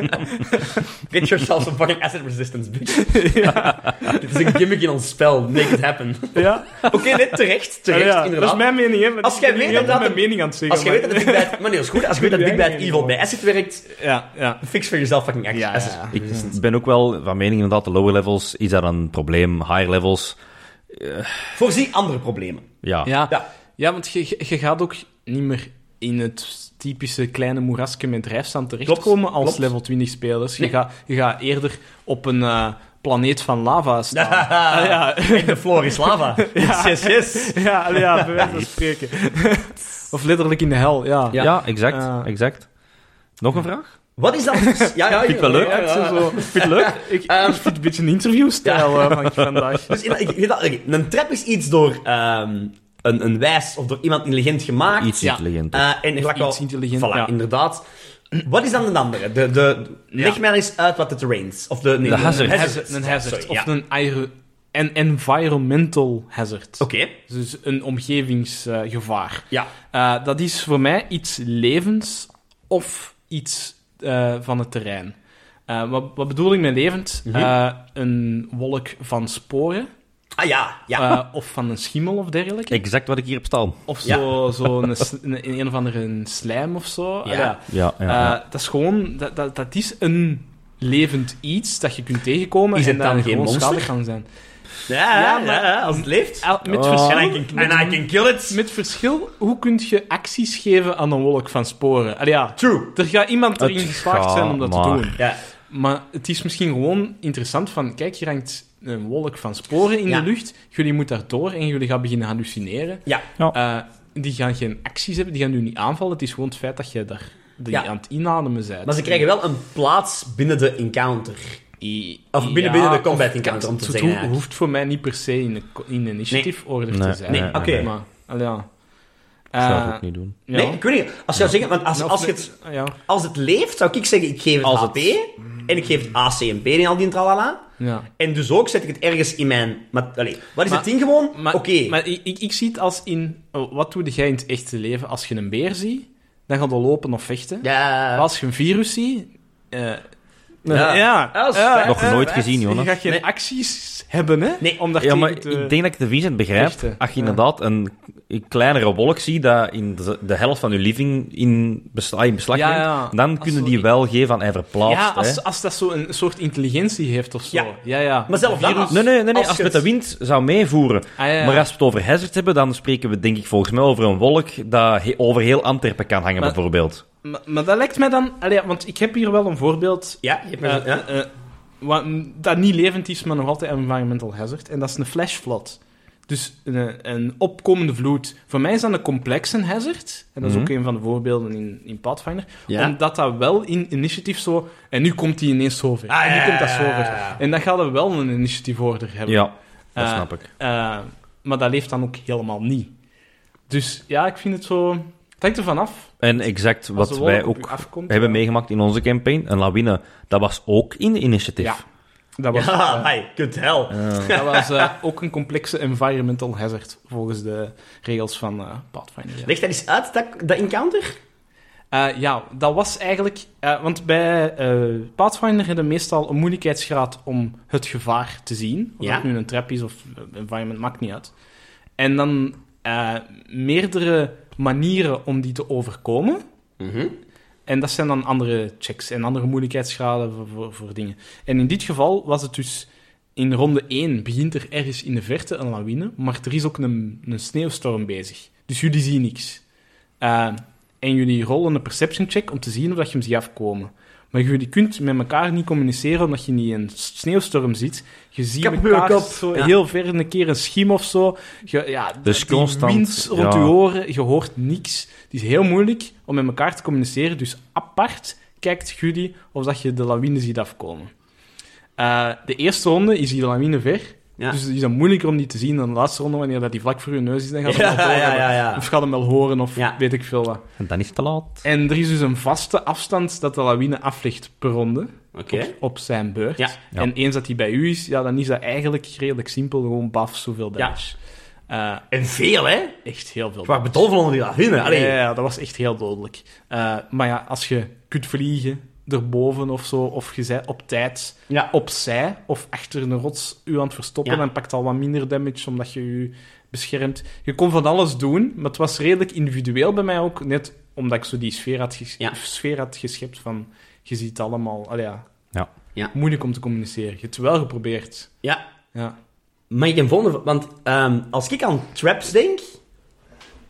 S2: Get yourself some fucking acid resistance, bitch. Dit is een gimmick in ons spel. Make it happen.
S3: Ja.
S2: Oké, net terecht. Terecht,
S3: Oh Ja, ja. Dat
S2: inderdaad.
S3: is mijn mening, hè. maar
S2: Als
S3: ik
S2: jij
S3: ben
S2: weet
S3: niet helemaal
S2: dat-
S3: mijn mening aan het zeggen.
S2: Als je weet dat Big Bad... Maar nee, dat is goed. Als je weet dat Big Bad Evil bij acid werkt,
S3: maar- Ja, ja.
S2: fix voor jezelf fucking acid
S3: Ja, ja,
S2: acid
S3: ja.
S2: resistance.
S1: Ik ben ook wel van mening inderdaad, de lower levels is dat een probleem. Higher levels,
S2: Voorzie andere problemen.
S1: ja.
S3: Ja.
S2: Ja.
S3: Ja. want je, je- je gaat ook niet meer in het typische kleine moerasje met drijfstand terechtkomen
S2: Klopt,
S3: als
S2: klopt.
S3: level 20 spelers. Je,
S2: Nee.
S3: gaat, je gaat eerder op een, eh, planeet van lava staan. Ah, ja.
S2: En de floor is lava.
S3: Ja.
S2: Yes, yes.
S3: ja, allee, ja, bij wijze van spreken. of letterlijk in de hel, ja.
S1: Ja,
S2: Ja.
S1: exact,
S3: Ah.
S1: exact. Nog een vraag?
S2: Wat is dat? vers- Ja, ja,
S1: Vind ik wel leuk.
S2: ja, ja, ja.
S3: Zo, vind je het leuk? Ehm. Ik, ik vind het een beetje een interviewstijl eh, van ik vandaag.
S2: Dus in- ik- ik- ik- een trap is iets door ehm, een, een wijs of door iemand intelligent gemaakt.
S1: Iets
S3: Ja.
S1: intelligenter.
S2: Eh, en gelijk al-
S3: iets intelligent,
S2: Voilà,
S3: ja.
S2: inderdaad. Wat is dan de andere? De, de,
S3: Ja.
S2: Leg mij eens uit wat de terrains... Of de, nee,
S1: De hazard.
S3: Een hazard, een hazard.
S2: Sorry,
S3: of
S2: ja.
S3: een aero- en environmental hazard.
S2: Oké,
S3: Dus een omgevingsgevaar.
S2: ja.
S3: Eh, dat is voor mij iets levens of iets eh, van het terrein. Eh, wat, wat bedoel ik met levend?
S2: Mhm.
S3: Eh, een wolk van sporen
S2: Ah ja, ja.
S3: eh, of van een schimmel of dergelijke.
S1: Exact wat ik hier heb staan.
S3: Of
S2: Ja.
S3: zo, zo een, s- een, een of andere slijm of zo.
S2: Ja.
S3: Ah, ja.
S1: Ja, ja, ja.
S3: Eh, dat is gewoon... Dat, dat, dat is een levend iets dat je kunt tegenkomen
S2: Is
S3: en
S2: het
S3: dat
S2: dan geen
S3: gewoon
S2: monster?
S3: schadelijk kan zijn.
S2: ja,
S3: ja,
S2: ja,
S3: maar-
S2: ja, als het leeft.
S3: Al- Met,
S1: Oh.
S2: En
S3: verschil,
S2: I, can, and I
S3: met,
S2: can kill it.
S3: met verschil, hoe kun je acties geven aan een wolk van sporen? Allee, ja,
S2: True.
S3: er gaat iemand erin
S1: Het
S3: geslaagd
S1: gaat
S3: zijn om dat te
S1: maar.
S3: doen.
S2: Ja.
S3: Maar het is misschien gewoon interessant van... Kijk, hier hangt een wolk van sporen in
S2: Ja.
S3: de lucht. Jullie moeten daardoor en jullie gaan beginnen hallucineren.
S2: Ja.
S3: Eh, die gaan geen acties hebben, die gaan u niet aanvallen. Het is gewoon het feit dat je daar dat
S2: Ja.
S3: je aan het inademen bent.
S2: Maar ze krijgen wel een plaats binnen de encounter.
S3: I-
S2: Of binnen-
S3: ja,
S2: binnen de combat
S3: of-
S2: encounter, om te
S3: het
S2: zeggen,
S3: ho-
S2: eigenlijk.
S3: hoeft voor mij niet per se in de, co- in de initiative order
S1: Nee.
S3: te zijn.
S2: Nee,
S1: Eh,
S2: oké.
S1: eh,
S3: Maar, al ja.
S1: Ik zou
S3: Eh,
S1: het ook niet doen.
S3: ja.
S2: Nee, ik weet niet. Als je zou zeggen, want als,
S3: Of
S2: als, je
S3: met-
S2: het,
S3: Ja,
S2: als het leeft, zou ik zeggen, ik geef het
S1: Als
S2: HP. En ik geef het AC en B en al die tralala.
S3: ja.
S2: En dus ook zet ik het ergens in mijn... Maar, allee, wat is
S3: Maar-
S2: het ding gewoon?
S3: Maar,
S2: Oké.
S3: maar ik, ik, ik zie het als in... oh, Wat doe jij in het echte leven? Als je een beer ziet, dan gaat je lopen of vechten.
S2: Ja.
S3: Maar Als je een virus ziet... eh,
S2: Ja. Dat is fijn.
S1: Nog
S2: eh,
S1: nooit
S2: eh,
S1: gezien,
S3: je
S1: Jonas.
S3: gaat geen
S2: Nee.
S3: acties hebben, hè?
S2: Nee.
S3: Omdat
S1: Ja, maar
S3: ik
S1: ik denk dat ik de Vincent begrijp.
S3: Echte,
S1: Als je
S3: ja.
S1: inderdaad een, een kleinere wolk ziet dat in de, de helft van je living in, besta- in beslag
S3: Ja,
S1: neemt,
S3: ja.
S1: dan
S3: Als
S1: kunnen
S3: zo-
S1: die wel geven van hij verplaatst.
S3: Ja,
S1: hè.
S3: als, als dat zo een soort intelligentie heeft of zo.
S2: Ja.
S3: Ja, ja. ja.
S2: Maar zelf dan
S3: Virus-
S2: als-
S1: Nee, nee, nee, nee.
S2: als
S1: Als
S2: je
S1: het met de
S2: het-
S1: wind zou meevoeren.
S3: Ah, ja, ja.
S1: Maar als we het over hazard hebben, dan spreken we denk ik volgens mij over een wolk dat he- over heel Antwerpen kan hangen,
S3: Maar-
S1: bijvoorbeeld.
S3: Maar, maar dat lijkt mij dan... Allee, want ik heb hier wel een voorbeeld...
S2: Ja, je hebt me-
S3: eh,
S2: ja.
S3: eh, wat, dat niet levend is, maar nog altijd een environmental hazard. En dat is een flash flood. Dus een, een opkomende vloed. Voor mij is dat een complexe hazard. En dat is ook
S1: Mhm.
S3: een van de voorbeelden in, in Pathfinder.
S2: Ja.
S3: Omdat dat wel in initiatief zo... En nu komt die ineens zover.
S2: Ah,
S3: en nu
S2: ja,
S3: komt dat
S2: ja,
S3: zover.
S2: ja, ja.
S3: En dan gaan we wel een initiative order hebben.
S1: Ja, dat
S3: Eh,
S1: snap ik.
S3: Eh, maar dat leeft dan ook helemaal niet. Dus ja, ik vind het zo... Het hangt ervan af.
S1: En exact
S3: Als
S1: wat
S3: de wolk
S1: wij
S3: op u
S1: ook
S3: afkomt, eh,
S1: hebben
S3: ja.
S1: meegemaakt in onze campaign, een lawine, dat was ook in de initiatief.
S3: Ja, dat was,
S2: Ja,
S3: eh,
S2: hi, good hell.
S3: dat was eh, ook een complexe environmental hazard volgens de regels van eh, Pathfinder. Ja.
S2: Leg dat eens uit, dat, dat encounter.
S3: Eh, ja, dat was eigenlijk... eh, want bij eh, Pathfinder hebben we meestal een moeilijkheidsgraad om het gevaar te zien. Of
S2: Ja.
S3: dat nu een trap is of eh, environment, maakt niet uit. En dan eh, meerdere manieren om die te overkomen. En dat zijn dan andere checks en andere moeilijkheidsgraden voor, voor, voor dingen. En in dit geval was het dus... In ronde 1 begint er ergens in de verte een lawine, maar er is ook een, een sneeuwstorm bezig. Dus jullie zien niks. Eh, en jullie rollen een perception check om te zien of dat je hem ziet afkomen. Maar jullie kunt met elkaar niet communiceren omdat je niet in een sneeuwstorm ziet. Je ziet
S2: heb een
S3: elkaar
S2: buurkop.
S3: zo
S2: Ja.
S3: heel ver een keer een schim of zo. Je, ja,
S1: Dus
S3: die
S1: constant,
S3: wind rond
S1: ja.
S3: je oren, je hoort niks. Het is heel moeilijk om met elkaar te communiceren. Dus apart kijkt jullie of dat je de lawine ziet afkomen. Eh, de eerste ronde is die lawine ver.
S2: Ja.
S3: Dus het is dan moeilijker om die te zien dan de laatste ronde, wanneer dat die vlak voor je neus is. Dan gaat het wel
S2: Ja, ja,
S3: doorhebben.
S2: ja, ja.
S3: Of gaat hem wel horen, of
S2: Ja.
S3: weet ik veel wat.
S1: En dan is het te laat.
S3: En er is dus een vaste afstand dat de lawine aflegt per ronde
S2: Oké.
S3: op zijn beurt.
S2: Ja.
S1: Ja.
S3: En eens dat die bij u is, ja, dan is dat eigenlijk redelijk simpel. Gewoon baf, zoveel damage. Eh,
S2: En veel, hè?
S3: echt heel veel
S2: Ik was bedolven onder die lawine. Allee.
S3: ja, ja, ja, dat was echt heel dodelijk. Eh, maar ja, als je kunt vliegen erboven of zo, of je bent op tijd
S2: Ja.
S3: opzij of achter een rots u aan het verstoppen,
S2: Ja.
S3: dan pakt al wat minder damage omdat je je beschermt. Je kon van alles doen, maar het was redelijk individueel bij mij ook, net omdat ik zo die sfeer had, ges-
S2: Ja.
S3: sfeer had geschept van je ziet het allemaal, allee, ja.
S1: Ja.
S2: Ja.
S3: Moeilijk om te communiceren. Je hebt het wel geprobeerd.
S2: ja.
S3: Ja.
S2: Maar ik heb volgende... Want ehm, als ik aan traps denk...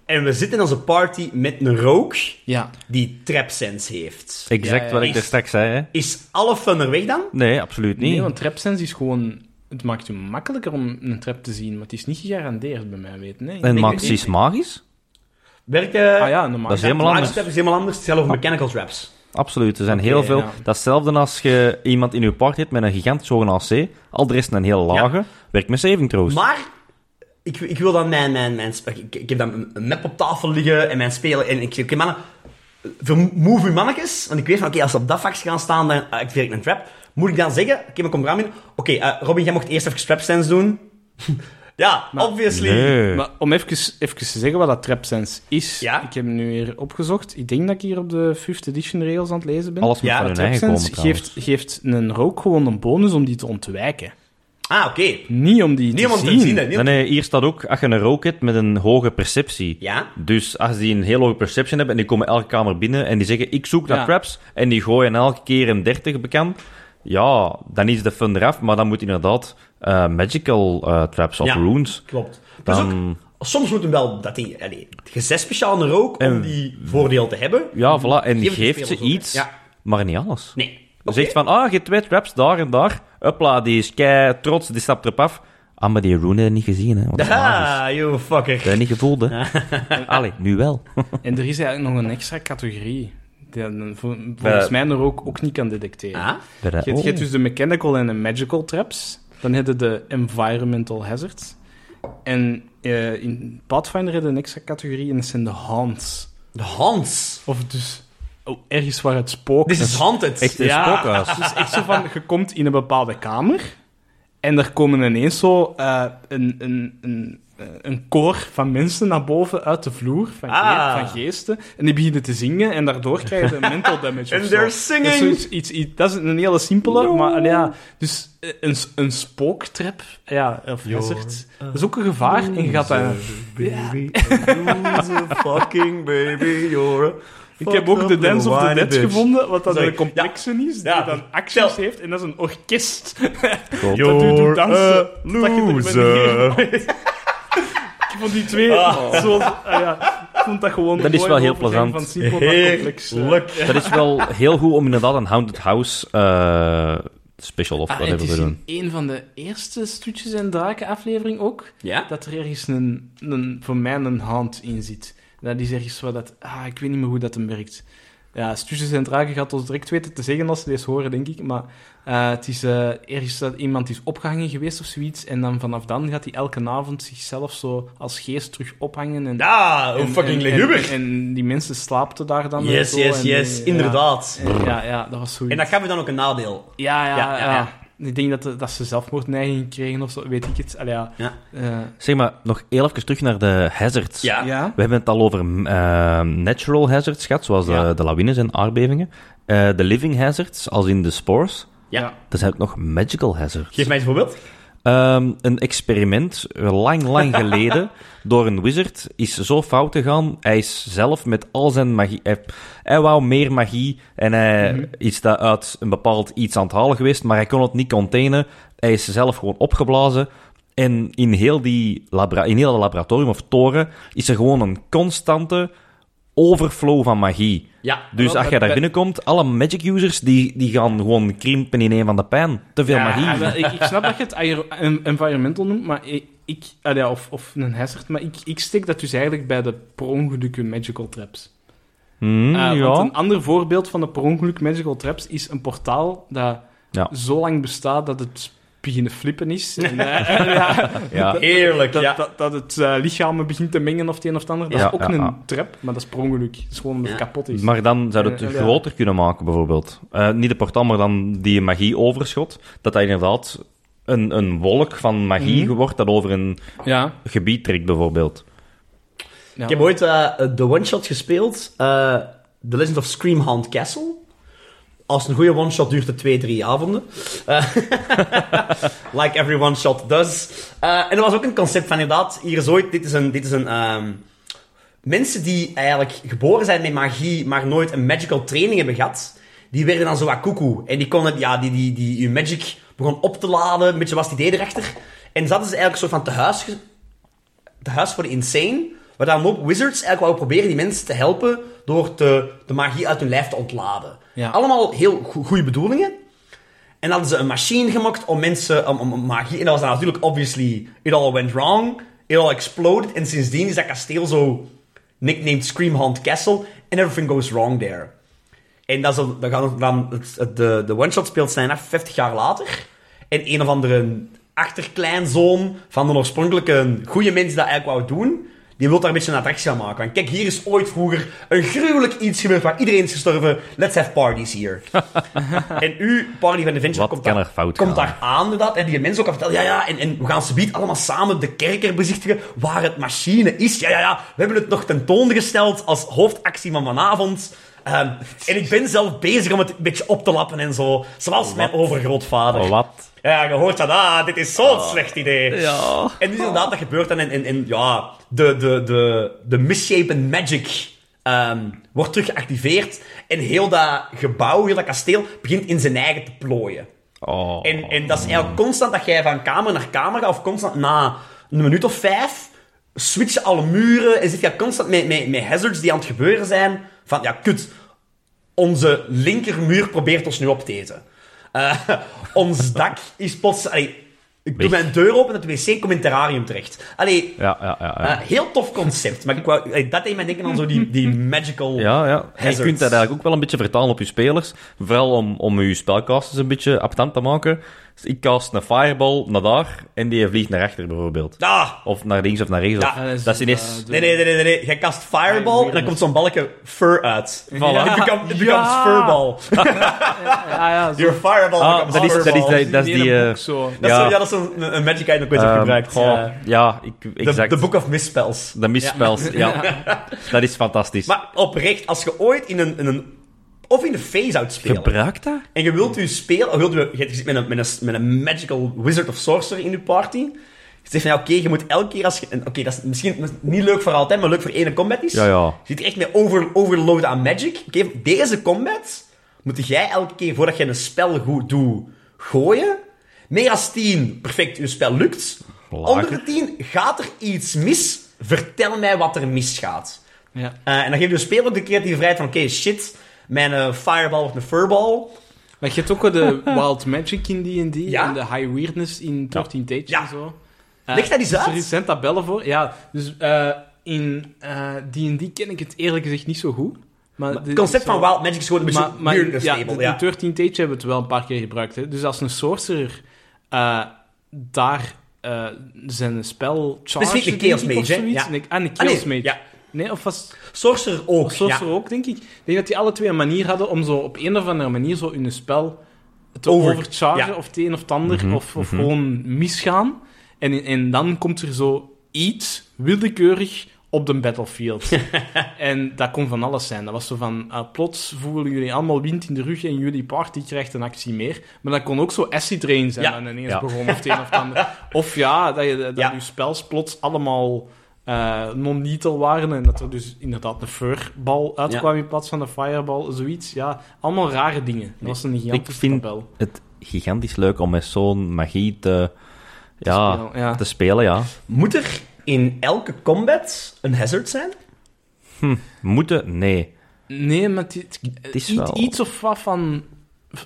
S2: En we zitten in onze party met een rook
S3: Ja.
S2: die trapsense heeft.
S1: Exact
S3: Ja, ja,
S1: wat ik
S2: is-
S1: daar straks zei, hè.
S2: Is alle fun er weg dan?
S1: Nee, absoluut niet.
S3: Nee, want trapsense is gewoon... Het maakt je makkelijker om een trap te zien, maar het is niet gegarandeerd bij mij weten. Nee.
S1: En
S2: ik-
S1: maakt
S2: ik-
S1: iets magisch?
S2: Werkt
S3: Ah ja, normaal.
S1: Dat is helemaal
S2: magic
S1: anders. Ah.
S2: trap is helemaal anders. Hetzelfde over mechanical traps.
S1: Absoluut. Er zijn heel veel...
S3: ja.
S1: Dat is hetzelfde als je iemand in je party hebt met een gigantisch hoge AC. Al de rest een heel lage. Werkt met saving throws.
S2: Maar ik, ik wil dan mijn... mijn, mijn spe- ik, ik heb dan een- een map op tafel liggen en mijn spelen. En ik zeg, oké mannen, vermove uw mannetjes. Want ik weet van, oké, als ze op dat vakje gaan staan, dan activeer ik een trap. Moet ik dan zeggen, oké, maar kom eraan binnen. Oké, eh, Robin, jij mocht eerst even trap sense doen. ja, obviously.
S1: Nee.
S3: Maar om even, even te zeggen wat dat trapsense is.
S2: Ja.
S3: Ik heb hem nu weer opgezocht. Ik denk dat ik hier op de 5th edition regels aan het lezen ben.
S1: Alles moet
S2: Ja,
S1: van hun eigen komen,
S3: Trapsense
S1: trouwens.
S3: geeft, geeft een rook gewoon een bonus om die te ontwijken.
S2: Ah, oké.
S3: Niet om die
S2: Niemand
S3: te
S2: te
S3: zien.
S2: zien, hè.
S1: Nee, nee, hier staat ook, als je een rook hebt met een hoge perceptie.
S2: Ja.
S1: Dus als die een heel hoge perception hebben en die komen elke kamer binnen en die zeggen, ik zoek naar
S3: Ja.
S1: traps, en die gooien elke keer een 30 bekend, ja, dan is de fun eraf, maar dan moet inderdaad eh, magical eh, traps of
S2: Ja.
S1: runes.
S2: Klopt. Plus
S1: Dan,
S2: ook, soms moet hem wel dat die, allee, je zes speciaal een rook om
S1: En-
S2: die voordeel te hebben.
S1: ja, voilà, en
S2: Mhm. die
S1: geeft ze
S2: spelers ook, hè.
S1: iets,
S2: Ja.
S1: maar niet alles.
S2: Nee.
S1: Ze
S2: Oké.
S1: Zegt van, ah, je hebt twee traps daar en daar, hopla, die is kei trots, die stapt erop af. Ah, maar die rune heb ik niet gezien, hè, want dat is magisch.
S2: Ah, you fucker.
S1: Dat heb ik niet gevoeld, hè. Allee, nu wel.
S3: En er is eigenlijk nog een extra categorie. Die een- vol- volgens
S1: Eh.
S3: mij een rook ook niet kan detecteren.
S2: Ah,
S1: Bij de-
S3: Je hebt, je hebt
S1: oh.
S3: dus de mechanical en de magical traps. Dan heb je de environmental hazards. En eh, in Pathfinder heb je een extra categorie en dat zijn de haunts.
S2: de Hans.
S3: Of dus oh, ergens waar het spookt.
S2: Dit is Haunted.
S1: Echt een
S3: Ja.
S1: spookhuis.
S3: Dus echt zo van, je komt in een bepaalde kamer en er komen ineens zo eh, een, een, een, eh, een koor van mensen naar boven uit de vloer, van, ge-
S2: Ah.
S3: van geesten, en die beginnen te zingen en daardoor krijg je een mental damage
S2: And
S3: of zo.
S2: they're
S3: Dat is
S2: singing.
S3: zoiets- iets, iets- dat is een hele simpele, maar allee, ja, dus eh, een, een spooktrap, ja, of hazard, dat is ook een gevaar en je gaat daar...
S2: Baby, a fucking baby, you're a
S3: Ik heb ook
S2: fucked
S3: de
S2: up
S3: Dance of
S2: little
S3: the
S2: whiny
S3: Dead
S2: bitch.
S3: gevonden, wat dan
S2: Sorry.
S3: een complexe is, die
S2: Ja.
S3: dan acties heeft, en dat is een orkest.
S1: God.
S3: Dat doet
S2: You're
S3: doet
S2: a
S3: dansen. Dat je er met
S2: loser.
S3: neer- Ik vond die twee zo... ah ja, ik vond dat gewoon
S1: Dat
S3: een
S1: is
S3: mooi
S1: wel heel
S3: overgang
S1: plezant.
S3: Van simpel naar complex. eh.
S2: Heerlijk.
S1: Dat is wel heel goed om inderdaad een Haunted House eh, special of
S3: Ah, en
S1: whatever
S3: het
S1: te
S3: is
S1: doen.
S3: in een van de eerste Stoetjes en Draken aflevering ook,
S2: Ja?
S3: dat er ergens een, een, voor mij een hand in zit. Dat is ergens wat dat... Ah, ik weet niet meer hoe dat hem werkt. Ja, Stoetjes en Draken gaat ons direct weten te zeggen als ze deze horen, denk ik. Maar eh, het is eh, ergens dat iemand is opgehangen geweest of zoiets. En dan vanaf dan gaat hij elke avond zichzelf zo als geest terug ophangen. En,
S2: Ja, hoe
S3: en-
S2: fucking
S3: en- en-
S2: luguber.
S3: En, en die mensen slaapten daar dan. en
S2: Yes,
S3: zo,
S2: yes,
S3: en
S2: yes.
S3: die-
S2: Inderdaad.
S3: Ja, ja, ja, dat was zoiets.
S2: En dat gaf je dan ook een nadeel.
S3: Ja, ja,
S2: Ja,
S3: ja.
S2: ja,
S3: Ik denk dat, de- dat ze zelfmoordneiging kregen of zo, weet ik het. Allee, ja.
S2: Ja.
S3: Eh,
S1: Zeg maar, nog heel even terug naar de hazards.
S2: Ja.
S3: ja.
S1: We hebben het al over eh, natural hazards gehad, zoals de,
S3: Ja.
S1: de lawines en aardbevingen. Eh, de living hazards, als in de spores.
S2: Ja.
S1: Er zijn ook nog magical hazards.
S2: Geef mij eens een voorbeeld.
S1: Ehm, een experiment, eh, lang, lang geleden, door een wizard, is zo fout gegaan. Hij is zelf met al zijn magie... Hij, hij wou meer magie en hij
S3: Mhm.
S1: is daar uit een bepaald iets aan het halen geweest, maar hij kon het niet containen. Hij is zelf gewoon opgeblazen. En in heel, die labra in heel dat laboratorium of toren is er gewoon een constante overflow van magie.
S2: Ja.
S1: Dus
S3: Wel,
S1: als je daar
S3: bij-
S1: binnenkomt, alle magic users die, die gaan gewoon krimpen in een van de pijn. Te veel magie.
S3: Ah, wel, ik, ik snap dat je het aero- en- environmental noemt, maar ik... ik allee, of, of een hazard, maar ik, ik steek dat dus eigenlijk bij de per ongeluk magical traps.
S1: Hmm,
S3: Eh,
S1: ja.
S3: Want een ander voorbeeld van de per ongeluk magical traps is een portaal dat
S1: Ja.
S3: zo lang bestaat dat het beginnen flippen is. En, eh, ja,
S1: Ja.
S2: Heerlijk,
S3: dat,
S2: ja.
S3: dat, dat het eh, lichaam begint te mengen of het een of het ander. Dat
S1: Ja,
S3: is ook
S1: ja,
S3: een
S1: ja.
S3: trap, maar dat is per ongeluk. Dat is gewoon omdat het
S2: Ja.
S3: kapot is.
S1: Maar dan zou je het
S3: Eh, ja.
S1: groter kunnen maken, bijvoorbeeld. Eh, niet de portaal, maar dan die magie-overschot. Dat dat inderdaad een, een wolk van magie
S3: Mhm.
S1: wordt dat over een
S3: ja.
S1: gebied trekt, bijvoorbeeld.
S3: ja.
S2: Ik heb ooit eh, de one-shot gespeeld. eh, The Legend of Screamhound Castle. Als een goede one-shot duurt het twee, drie avonden. Eh, like every one-shot does. Eh, en er was ook een concept van inderdaad, hier is ooit, dit is een... Dit is een ehm, mensen die eigenlijk geboren zijn met magie, maar nooit een magical training hebben gehad, die werden dan zo wat koekoe. En die konden, ja, die, die, die, hun magic begon op te laden, een beetje was het idee erachter. En zaten ze eigenlijk soort van te huis ge- te huis voor de insane. Waar dan een hoop wizards eigenlijk wou proberen die mensen te helpen door te, de magie uit hun lijf te ontladen.
S3: Ja.
S2: Allemaal heel goede bedoelingen. En hadden ze een machine gemaakt om mensen, om, om- om magie... En dat was dan natuurlijk, obviously, it all went wrong. It all exploded. En sindsdien is dat kasteel zo nicknamed Screamhaunt Castle. And everything goes wrong there. En dat is dan, dan, gaan we dan het- het- de, de one-shot speelt zijn af 50 jaar later. En een of andere achterkleinzoon van de oorspronkelijke goede mens die dat eigenlijk wou doen, die wil daar een beetje een attractie aan maken. Want kijk, hier is ooit vroeger een gruwelijk iets gebeurd waar iedereen is gestorven. Let's have parties here. en uw party van Adventure
S1: Wat
S2: komt,
S1: kan
S2: daar,
S1: er fout
S2: komt
S1: gaan?
S2: daar aan, inderdaad. En die mensen ook al vertellen, ja, ja, en, en we gaan subiet allemaal samen de kerker bezichtigen waar het machine is. Ja, ja, ja, we hebben het nog tentoongesteld als hoofdactie van vanavond. Ehm, en ik ben zelf bezig om het een beetje op te lappen en zo. Zoals mijn overgrootvader.
S1: Wat?
S2: Ja, je hoort dat, ah, dit is zo'n slecht idee. En dus inderdaad, dat gebeurt dan. En, en, en ja, de, de, de, de misshapen magic ehm, wordt terug geactiveerd. En heel dat gebouw, heel dat kasteel, begint in zijn eigen te plooien.
S1: Oh.
S2: En, en dat is eigenlijk constant dat jij van kamer naar kamer gaat, of constant na een minuut of vijf, switchen alle muren en zit je constant met, met, met hazards die aan het gebeuren zijn. Van, ja, kut, onze linkermuur probeert ons nu op te eten. Eh, ons dak is plots... Allee, ik doe
S1: Weg.
S2: mijn deur open en het wc komt in het terrarium terecht. Allee,
S1: Ja, ja, ja. Ja,
S2: eh, heel tof concept. Maar ik wou, allee, dat deed mij denken aan zo die, die magical...
S1: ja, ja. En
S2: Hazards.
S1: je kunt dat eigenlijk ook wel een beetje vertalen op je spelers. Vooral om, om je spelcasters een beetje aptant te maken. Dus ik cast een fireball naar daar en die vliegt naar achter bijvoorbeeld.
S2: Ah,
S1: Of naar links of naar rechts.
S2: Ja.
S1: Of-
S3: dat is,
S1: dat is ineens...
S3: eh, de-
S2: Nee, nee, nee, nee, nee. Jij kast Fireball
S1: Ah,
S2: en dan komt zo'n balkje fur uit. Voilà.
S3: Ja.
S2: It, become- it becomes
S3: Ja.
S2: Furball.
S3: Ja, Ah, ja, zo.
S2: Your Fireball
S1: Ah,
S2: becomes
S1: dat is- dat is-
S2: Furball.
S1: dat is-
S3: in
S1: die,
S3: ene
S1: eh,
S3: boek zo.
S2: Dat
S1: ja.
S2: is zo- ja, dat is een, een- een magic item dat ik ooit heb
S1: Ehm,
S2: gebruikt.
S1: goh,
S2: ja.
S1: ja, ik,
S2: De,
S1: exact.
S2: de Book of Misspells.
S1: De misspels, ja. Dat is fantastisch.
S2: Maar oprecht, als je ooit in een... In een of in een phase-out speelt.
S1: Gebruikt dat?
S2: En je wilt je spelen, wilt je, je zit met een, met, een, met een magical wizard of sorcerer in je party. Je zegt van ja, oké, je moet elke keer als je. en Oké, dat is misschien niet leuk voor altijd, maar leuk voor één combat is.
S1: Ja, ja.
S2: Je zit echt met over, overload aan magic. Oké, deze combat moet jij elke keer voordat je een spel goed doet gooien. Meer als 10, perfect, je spel lukt.
S1: Lager.
S2: Onder de 10 gaat er iets mis. Vertel mij wat er misgaat.
S3: Ja.
S2: Eh, en dan geef je de speler ook de creatieve vrijheid van oké, shit, mijn eh, fireball of een furball.
S3: Maar je hebt ook wel de Wild Magic in D&D
S2: Ja?
S3: en de High Weirdness in 13 Dates
S2: Ja.
S3: en zo.
S2: Leg dat eens
S3: is Er
S2: uit.
S3: recent tabellen voor. Ja, dus eh, in eh, D&D ken ik het eerlijk gezegd niet zo goed. Maar
S2: Het concept van
S3: Wild
S2: Wild Magic is gewoon een beetje
S3: maar, maar in-
S2: weirdness
S3: ja,
S2: label,
S3: in
S2: ja.
S3: 13 Tage hebben we het wel een paar keer gebruikt. Hè. Dus als een sorcerer eh, daar eh, zijn spel charge...
S2: Specifiek een
S3: denk
S2: Chaos
S3: ik, of
S2: Mage, hè?
S3: zoiets.
S2: Ja.
S3: En ik- En een
S2: Ah, nee,
S3: Chaos Mage.
S2: ja.
S3: Nee, of was...
S2: Sorcerer ook,
S3: Of Sorcerer
S2: ja.
S3: ook, denk ik. Ik denk dat die alle twee een manier hadden om zo op een of andere manier zo hun spel te
S2: Over-
S3: overchargen,
S2: ja. Mhm,
S3: of het een of het ander, of, of gewoon misgaan. En, en dan komt er zo iets willekeurig op de battlefield. en dat kon van alles zijn. Dat was zo van, ah, plots voelen jullie allemaal wind in de rug en jullie party krijgt een actie meer. Maar dat kon ook zo acid rain zijn
S2: Ja.
S3: dan ineens
S1: Ja.
S3: begon, of het een of het ander. Of ja, dat je dat
S2: Ja.
S3: je spels plots allemaal eh, non-lethal waren en dat er dus inderdaad een furbal uitkwam in plaats van een fireball, zoiets. Ja, allemaal rare dingen. Dat was een gigantische
S1: Ik vind-
S3: tabel.
S1: Het gigantisch leuk om met zo'n magie te... Ja, te
S3: spelen,
S1: spelen,
S3: ja.
S1: ja. ja.
S2: Moet er in elke combat een hazard zijn?
S1: Moeten? Nee.
S3: Nee, maar die-
S1: Het is
S3: iets,
S1: wel-
S3: iets of wat van...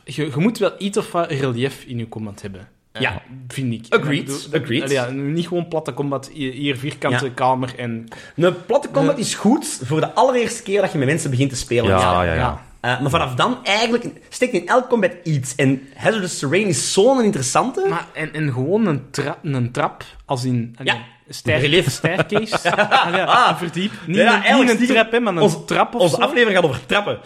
S3: Je, je moet wel iets of wat relief in je combat hebben. Eh,
S2: Ja.
S3: Vind ik.
S2: Agreed,
S3: Ik bedoel, dat-
S2: agreed.
S3: Ja, niet gewoon platte combat, hier hier vierkante
S2: Ja.
S3: kamer en...
S2: Een platte combat
S3: De-
S2: is goed voor de allereerste keer dat je met mensen begint te spelen.
S1: Ja, ja, ja.
S2: Eh, maar vanaf dan eigenlijk steekt in elk combat iets. En Hazardous Terrain is zo'n interessante.
S3: Maar, en, en gewoon een, tra- een trap, als in...
S2: Ja.
S3: Een stair- staircase. Ah, ja,
S2: Ah.
S3: verdiep. Niet,
S2: Ja,
S3: een-
S2: eigenlijk
S3: niet een
S2: stiekem-
S3: trap, hè, maar een
S2: Ons-
S3: trap of
S2: Onze
S3: zo.
S2: aflevering gaat over trappen.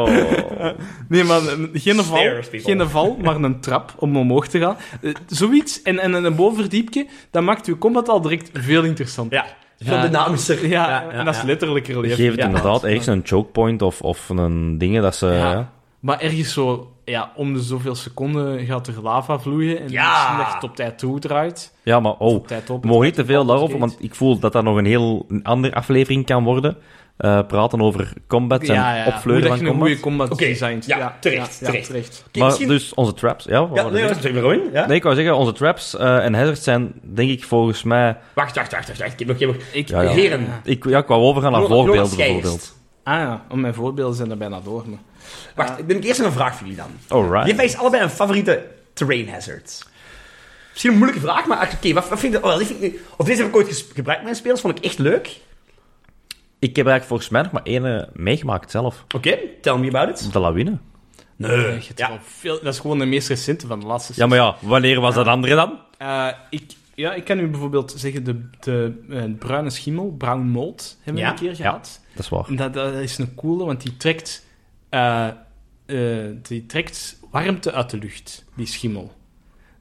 S1: Oh.
S3: Nee, maar eh, geen val,
S2: Stairs, people.
S3: geen val, maar een trap om omhoog te gaan. Eh, zoiets, en, en een bovenverdiepje, dat maakt uw combat al direct veel interessanter.
S2: Ja. Veel dynamischer.
S3: Ja, en dat is
S2: ja.
S3: letterlijk relief.
S1: Geef het
S2: Ja.
S1: inderdaad ergens een chokepoint of, of een dingen dat ze...
S3: Ja.
S1: ja.
S3: Maar ergens zo, ja, om de zoveel seconden gaat er lava vloeien en
S2: Ja.
S3: misschien dat je het op tijd toe draait.
S1: Ja, maar oh,
S3: Tijd op.
S1: we mogen niet te veel daarover,
S3: Skate.
S1: want ik voel dat dat nog een heel een andere aflevering kan worden. eh, praten over combat en
S3: ja, ja. Hoe
S1: opvleuren
S3: dat
S1: van
S3: je een
S1: combat.
S3: goede combat
S2: Oké,
S3: designt.
S2: ja, terecht, terecht. Oké,
S1: Maar
S2: misschien-
S1: dus onze traps, ja. wat
S2: Ja,
S1: waren
S2: nee,
S1: die?
S2: dat is even gewoon. Ja?
S1: nee, ik wou zeggen, onze traps eh, en hazards zijn, denk ik, volgens mij...
S2: Wacht, wacht, wacht, wacht, wacht. Ik heb nog, ik heb nog.
S3: Ik,
S1: Ja, ja.
S2: Heren.
S1: Ik, ja, ik wou overgaan naar
S2: Jonas
S1: voorbeelden,
S2: Scheijers.
S1: bijvoorbeeld.
S3: Ah ja, om mijn voorbeelden zijn er bijna door. Maar...
S2: Wacht, ik denk eerst nog een vraag voor jullie dan. Je
S1: Alright.
S2: hebt allebei een favoriete terrain hazard. Misschien een moeilijke vraag, maar oké, wat, wat vind je... Oh, dit vind ik niet- of deze heb ik ooit ges- gebruikt met mijn spelers, vond ik echt leuk.
S1: Ik heb eigenlijk volgens mij nog maar één eh, meegemaakt zelf.
S2: Oké, tell me about it.
S1: De lawine.
S2: Nee,
S3: Je hebt
S2: ja.
S3: wel veel... Dat is gewoon de meest recente van de laatste
S1: Ja, maar ja, wanneer was dat andere dan?
S3: Eh, ik, ja, ik kan u bijvoorbeeld zeggen, de, de eh, bruine schimmel, brown mold, hebben we
S2: Ja.
S3: een keer gehad.
S1: Dat is waar.
S3: En Dat, dat is een coole, want die trekt, eh, eh, die trekt warmte uit de lucht, die schimmel.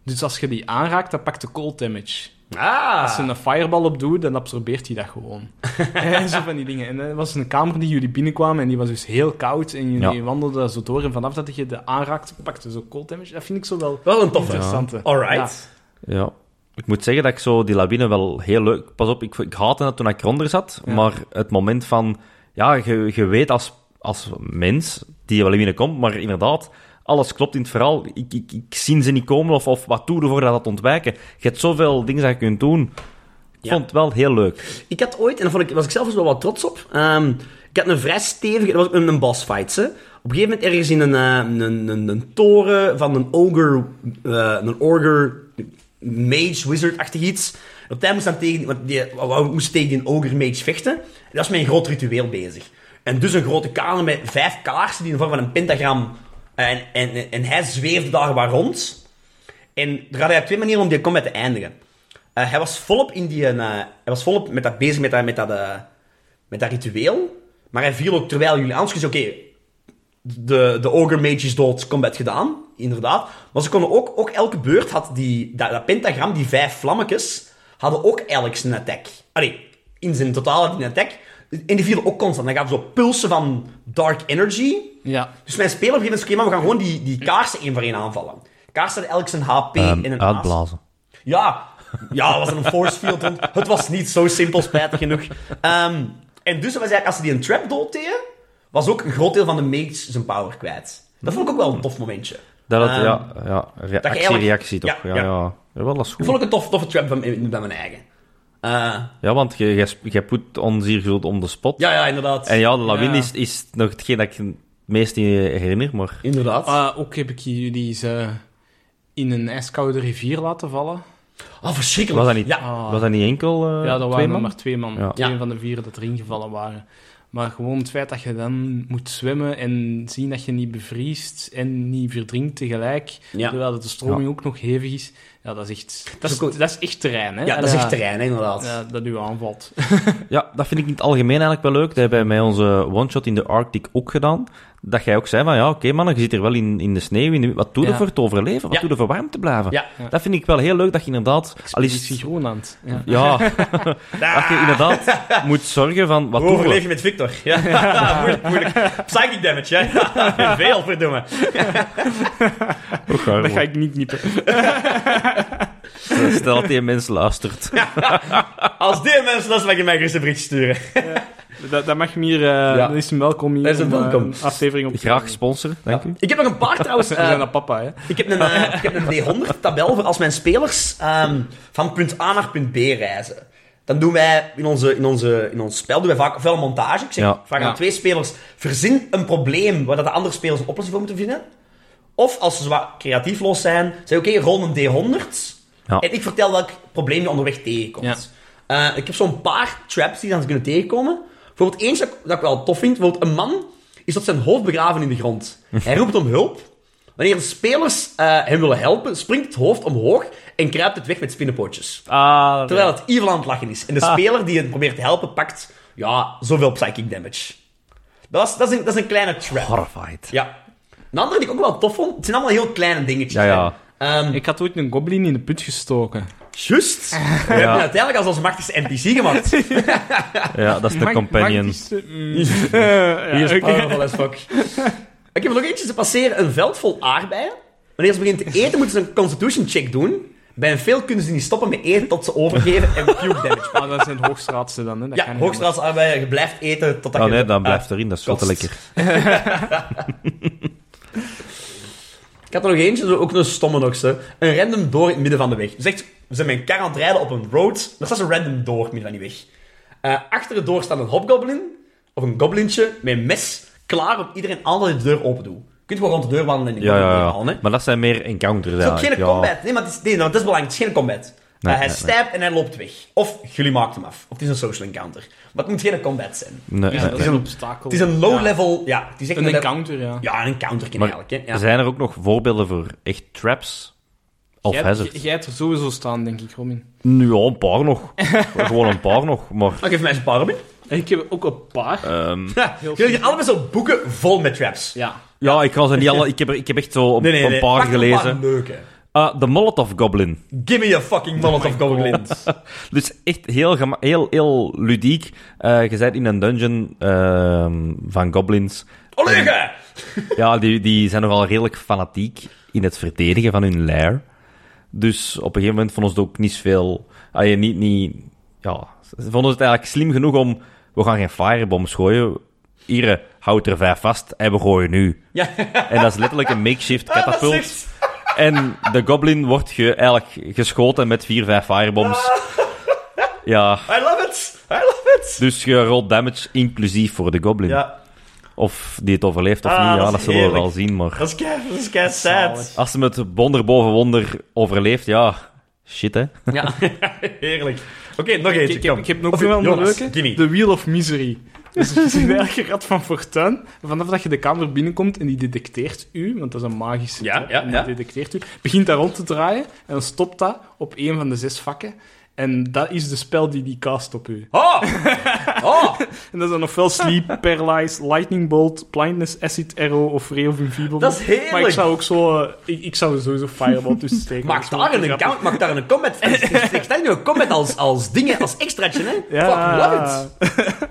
S3: Dus als je die aanraakt, dan pakt de cold damage. Als je
S2: Ah,
S3: een fireball op doet, dan absorbeert hij dat gewoon. en zo van die dingen. En dat was een kamer die jullie binnenkwamen en die was dus heel koud. En jullie
S1: Ja.
S3: wandelden daar zo door en vanaf dat je de aanraakt, pakte zo cold damage. Dat vind ik zo wel
S2: wel een toffe.
S3: interessant.
S2: Alright.
S1: Ja. Ik moet zeggen dat ik zo die lawine wel heel leuk... Pas op, ik, ik haatte het toen ik eronder zat,
S3: Ja.
S1: maar het moment van... Ja, je, je weet als, als mens die lawine komt, maar inderdaad, alles klopt in het verhaal. Ik, ik, ik zie ze niet komen of, of wat doe je voor dat dat ontwijken. Je hebt zoveel dingen dat je kunt doen. Ik
S2: Ja.
S1: vond het wel heel leuk.
S2: Ik had ooit, en daar vond ik, was ik zelf dus wel wat trots op. ehm, ik had een vrij stevige, dat was een, een boss fight. Hè. Op een gegeven moment ergens in een, eh, een, een, een toren van een ogre, eh, een orger, mage, wizard-achtig iets. En Op tijd moest dan tegen, want die, we moesten tegen die ogre mage vechten. En dat was mijn groot ritueel bezig. En dus een grote kamer met vijf kaarsen die in de vorm van een pentagram. En, en, en, en hij zweefde daar waar rond. En er had eigenlijk twee manieren om die combat te eindigen. Eh, hij was volop, in die, eh, hij was volop met dat bezig met dat, met, dat, eh, met dat ritueel. Maar hij viel ook terwijl jullie anders. Dus oké, de, de Ogre Mage is dood, combat gedaan. Inderdaad. Maar ze konden ook, ook elke beurt had die, dat, dat pentagram, die vijf vlammetjes, hadden ook elk zijn attack. Allee, in zijn totaal had hij een attack. En die vielen ook constant. Dan gaven ze zo pulsen van dark energy.
S3: Ja,
S2: Dus mijn speler op een gegeven moment, oké, maar we gaan gewoon die, die kaarsen één voor één aanvallen. Kaarsen hadden elk zijn HP
S1: Ehm,
S2: en een aas.
S1: uitblazen.
S2: Ja, ja, dat was een force field. want het was niet zo simpel, spijtig genoeg. Ehm, en dus was eigenlijk, als ze die een trap dood deden, was ook een groot deel van de mage zijn power kwijt. Dat vond ik ook wel een tof momentje.
S1: Dat het,
S2: Ehm,
S1: ja, ja re-
S2: je
S1: actie,
S2: eigenlijk-
S1: reactie toch.
S2: ja,
S1: Ja, ja.
S2: ja.
S1: Jawel, dat is goed.
S2: Dat vond ik een tof, toffe trap van, van mijn eigen. Eh,
S1: Ja, want je, je, sp- je put ons hier zo on the spot.
S2: ja, ja, inderdaad.
S1: En ja, de lawine
S3: Ja.
S1: Is, is nog hetgeen dat ik het meest niet herinner, maar...
S2: Inderdaad.
S3: Ah, ook heb ik jullie ze in een ijskoude rivier laten vallen.
S2: oh, verschrikkelijk.
S1: Was dat niet, Ah.
S2: Ja.
S1: was dat niet enkel eh,
S3: Ah. ja, dat
S1: twee
S3: waren
S1: man?
S3: er maar twee man.
S1: Ja.
S3: Twee
S2: Ja.
S3: van de vier dat erin gevallen waren. Maar gewoon het feit dat je dan moet zwemmen en zien dat je niet bevriest en niet verdrinkt tegelijk,
S2: Ja.
S3: terwijl de stroming ook nog hevig is, ja, dat is echt, dat is,
S2: Dat is ook-
S3: dat is echt terrein. Hè?
S2: ja, dat is echt
S3: Ja,
S2: terrein, hè, inderdaad.
S3: ja, dat u aanvalt.
S1: Ja, dat vind ik in het algemeen eigenlijk wel leuk. Dat hebben wij met onze one-shot in de Arctic ook gedaan. Dat jij ook zei van, ja, oké mannen, je zit hier wel in, in de sneeuw. In de- wat doe je
S3: Ja.
S1: voor te overleven? Wat
S2: Ja.
S1: doe je voor warm te blijven?
S2: Ja.
S1: Dat vind ik wel heel leuk, dat je inderdaad... Al is
S3: Expeditie Groenland. Ja.
S1: ja, dat je inderdaad moet zorgen van, wat
S2: Hoe
S1: doen
S2: overleef
S1: we?
S2: je met Victor? Ja, moeilijk, moeilijk. Psychic damage, hè? Veel, verdomme.
S1: Ook waar,
S3: Dat ga ik niet knippen.
S1: hoor. Eh, Stel dat die mens luistert.
S2: Als dit mensen, dat is mag je mij gerust een bericht sturen.
S3: Dat, dat mag meer...
S2: Ja.
S3: Dat is een welkom hier.
S2: Dat is
S3: om,
S2: een
S3: eh,
S2: welkom.
S3: aflevering op
S1: Graag sponsor, dank u.
S2: Ik heb nog een paar trouwens.
S3: We
S2: eh,
S3: zijn dat papa, hè?
S2: Ik heb een, eh, ik heb een D100-tabel voor als mijn spelers ehm, van punt A naar punt B reizen. Dan doen wij in, onze, in, onze, in ons spel doen wij vaak ofwel een montage. Ik zeg,
S1: Ja.
S2: ik vraag aan
S3: Ja.
S2: twee spelers, verzin een probleem waar dat de andere spelers een oplossing voor moeten vinden. Of als ze wat creatiefloos zijn, zeg oké, rol een D100.
S1: Ja.
S2: En ik vertel welk probleem je onderweg tegenkomt.
S3: Ja.
S2: Eh, ik heb zo'n paar traps die dan kunnen tegenkomen. Bijvoorbeeld eentje dat, ik- dat ik wel tof vind. Bijvoorbeeld een man is tot zijn hoofd begraven in de grond. Hij roept om hulp. Wanneer de spelers eh, hem willen helpen, springt het hoofd omhoog en kruipt het weg met spinnenpootjes.
S1: Ah, dat-
S2: Terwijl het evil aan het lachen is. En de
S1: Ah.
S2: speler die het probeert te helpen, pakt ja, zoveel psychic damage. Dat is, dat is, een, dat is een kleine trap.
S1: Horrified.
S2: Ja. Een andere die ik ook wel tof vond, het zijn allemaal heel kleine dingetjes.
S1: Ja, ja.
S2: hè. Ehm,
S3: Ik had ooit een goblin in de put gestoken.
S2: Juist. We hebben het uiteindelijk als onze machtigste NPC gemaakt.
S1: Ja, dat is de
S3: Mag-
S1: companion.
S3: mag die- mm. Eh, ja,
S2: Die is
S3: oké.
S2: powerful as fuck. Ik heb er nog eentje te passeren. Een veld vol aardbeien. Wanneer ze beginnen te eten, moeten ze een constitution check doen. Bij een veel kunnen ze niet stoppen met eten tot ze overgeven en puke damage.
S3: Ah, dat zijn hoogstraatse dan, hè. Dat kan
S2: Ja,
S3: niet
S2: hoogstraats arbeid, je blijft eten totdat
S1: Oh
S2: je...
S1: nee, dan
S2: Ah,
S1: blijft erin. Dat is wel te
S2: kost.
S1: lekker.
S2: Ik had er nog eentje, zo ook een stomme nog, zo. Een random door in het midden van de weg. Dus echt, we zijn met een kar aan het rijden op een road. Daar staat een random door in het midden van die weg. Eh, achter de door staat een hobgoblin, of een goblintje, met een mes, klaar om iedereen aan dat je de deur open doet. Je kunt gewoon rond de deur wandelen en die
S1: Ja,
S2: goblin
S1: ja,
S2: halen, hè.
S1: ja. Maar dat zijn meer encounters
S2: Het is ook
S1: eigenlijk.
S2: geen
S1: ja.
S2: combat. Nee, maar het is, nee, want dat is belangrijk. Het is geen combat.
S1: Nee,
S2: Eh, hij
S1: nee, nee.
S2: stapt en hij loopt weg. Of jullie maakt hem af. Of het is een social encounter. Maar het moet geen combat zijn.
S1: Nee,
S3: Ja,
S1: nee,
S3: dat
S1: nee.
S3: is een obstakel.
S2: Het is een low-level... Ja. het is echt
S3: Een
S2: le-
S3: encounter, ja.
S2: Ja, een encounter
S1: Maar
S2: eigenlijk. Hè. Ja.
S1: Zijn er ook nog voorbeelden voor echt traps? Of
S3: Jij-
S1: hazards?
S3: Jij hebt er sowieso staan, denk ik, Robin.
S1: Nu ja, een paar nog. Gewoon een paar nog. Maar
S2: Oké, geef mij eens een paar, Robin.
S3: Ik heb ook een paar.
S1: ehm,
S2: Ja, jullie hebben allebei zo boeken vol met traps.
S3: Ja.
S1: ja, ik kan ze niet alle. Ik heb, er, ik heb echt zo een,
S2: Nee, nee, nee.
S1: een paar
S2: Pak er een
S1: gelezen.
S2: paar leuke.
S1: Ah, de Molotov Goblin.
S2: Give me a fucking Molotov
S3: Oh my
S2: Goblin.
S1: Dus echt heel, gema- heel, heel ludiek. Eh, je bent in een dungeon ehm, van goblins.
S2: Oh, Olega!
S1: Ja, die, die zijn nogal redelijk fanatiek in het verdedigen van hun lair. Dus op een gegeven moment vonden ze het ook niet veel... ah, je niet, niet, ja, ze vonden het eigenlijk slim genoeg om... We gaan geen firebombs gooien. Hier, houd er vijf vast en we gooien nu.
S2: Ja,
S1: En dat is letterlijk een makeshift
S2: Ah, dat is
S1: katapult.
S2: echt-
S1: En de goblin wordt ge, eigenlijk geschoten met vier, vijf firebombs.
S2: Ah.
S1: Ja,
S2: I love it! I love it!
S1: dus je rolt damage inclusief voor de goblin.
S2: Ja,
S1: Of die het overleeft of
S2: Ah,
S1: niet, ja,
S2: dat is
S1: dat zullen we
S2: heerlijk.
S1: wel zien, maar...
S2: dat is kei, dat is kei sad.
S1: Als ze met wonder boven wonder overleeft, ja, shit hè.
S2: Ja, heerlijk. Oké, nog
S3: Ik,
S2: eentje,
S3: ik, heb,
S2: kom.
S3: ik heb nog
S2: Of
S3: wel een
S2: Jonas,
S3: leuke.
S2: gimme.
S3: The Wheel of Misery. Dus het is eigenlijk een rad van fortuin. Vanaf dat je de kamer binnenkomt en die detecteert u, want dat is een magische
S2: Ja,
S3: trap,
S2: ja,
S3: en
S2: ja.
S3: die detecteert u, begint daar rond te draaien en dan stopt dat op één van de zes vakken. En dat is de spel die die cast op u.
S2: Oh! Oh!
S3: En dat is dan ofwel Sleep, Paralyze, Lightning Bolt, Blindness, Acid Arrow of Ray of Invisible.
S2: Dat is heerlijk.
S3: Maar ik zou ook zo... eh, ik, ik zou er sowieso Fireball tussen steken.
S2: Maak
S3: Dat is
S2: daar
S3: wel
S2: een
S3: grappig.
S2: account, maak daar een comment. Ik stel nu een comment als, als dingen, als extraatje, hè? Fuck,
S3: Ja.
S2: love it.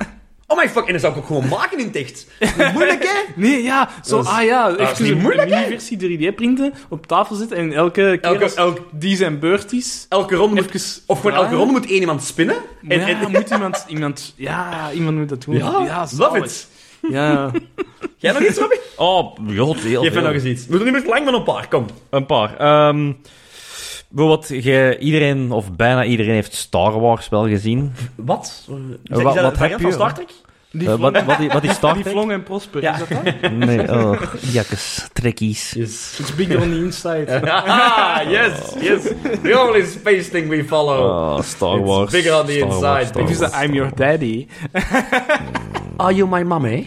S2: Oh my fuck, en dan zou ik ook gewoon maken in ticht. Moeilijk, hè?
S3: Nee, ja. Zo,
S2: Dat is-
S3: ah ja.
S2: is
S3: Echt
S2: niet
S3: een
S2: moeilijk, hè?
S3: mini-versie 3D printen, op tafel zitten en elke keer
S2: Elke-
S3: als die zijn beurt is...
S2: Elke ronde moet...
S3: Even
S2: Of gewoon elke
S3: draaien.
S2: ronde moet één iemand spinnen. En,
S3: ja,
S2: en,
S3: moet iemand, iemand... Ja, iemand moet dat doen.
S2: ja, love
S3: zalig.
S2: it.
S3: Ja.
S2: Jij nog iets, Robby?
S1: Oh, god, heel
S2: Geef me
S1: veel.
S2: nog eens iets. We doen niet meer te lang, maar een paar. Kom.
S1: Een paar. Ehm bijvoorbeeld, je, iedereen, of bijna iedereen heeft Star Wars wel gezien.
S2: Wat? Is
S1: wat-
S2: dat
S1: wat
S2: een variant
S1: heb
S2: van
S1: je?
S2: Star Trek?
S3: Die
S1: Eh,
S3: vlong,
S1: wat, wat, i- wat is Star
S3: die
S1: Trek?
S3: vlong en Prosper,
S2: Ja.
S3: is dat dat?
S1: Nee, oh, jakkes, trekkies.
S2: Yes.
S3: It's bigger on the inside.
S2: Ah, yes, yes. The only space thing we follow.
S1: Oh, Star
S2: It's
S1: Wars.
S2: bigger on the
S1: Star Wars,
S2: inside,
S1: Star
S3: Ik wist
S1: Wars.
S3: dat I'm your daddy.
S2: Are you my eh? mommy?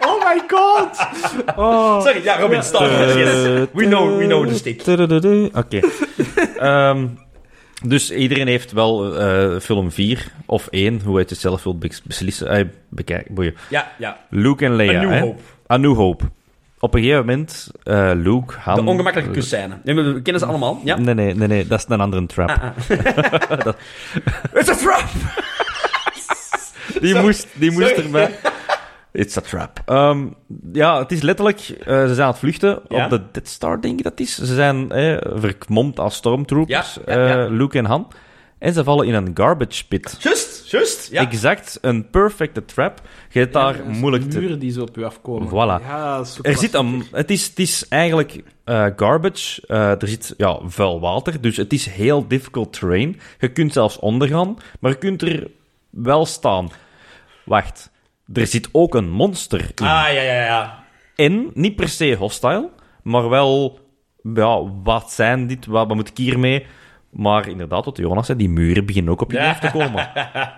S3: Oh my god! Oh.
S2: Sorry, ja, Robin, Star Wars, yes. We know, we know the stick.
S1: Tudududu. Oké. Ehm, dus iedereen heeft wel eh, film 4 of 1, hoe het het zelf wilt bes- beslissen. Eh, bekijk, boeien.
S2: Ja, ja.
S1: Luke en Leia.
S2: A New
S1: hè?
S2: Hope.
S1: A New Hope. Op een gegeven moment, eh, Luke, Han...
S2: De ongemakkelijke kusscène. Nee, maar We kennen ze
S1: Mm.
S2: allemaal, ja? Ah,
S1: Nee, nee, nee, nee, dat is een andere trap.
S2: It's a trap!
S1: Die
S2: Sorry.
S1: moest, die moest
S2: Sorry.
S1: erbij. It's a trap. Ehm, ja, het is letterlijk... eh, ze zijn aan het vluchten
S2: Ja.
S1: op de Dead Star, denk ik dat is. Ze zijn eh, verkmomd als stormtroopers,
S2: Ja, ja, ja.
S1: eh, Luke en Han. En ze vallen in een garbage pit.
S2: Just, just, ja.
S1: Exact, een perfecte trap. Je hebt daar moeilijk te...
S3: muren die zo op u afkomen.
S1: Voilà.
S3: Ja, dat is zo
S1: Er zit een,
S3: klassiek.
S1: het, is, het is eigenlijk eh, garbage. Eh, er zit ja, vuil water. Dus het is heel difficult terrain. Je kunt zelfs ondergaan, maar je kunt er wel staan. Wacht, er zit ook een monster in.
S2: Ah, ja, ja, ja.
S1: En niet per se hostile, maar wel. Ja, wat zijn dit? Wat, wat moet ik hiermee? Maar inderdaad, wat Jonas zei, die muren beginnen ook op je lijf te komen.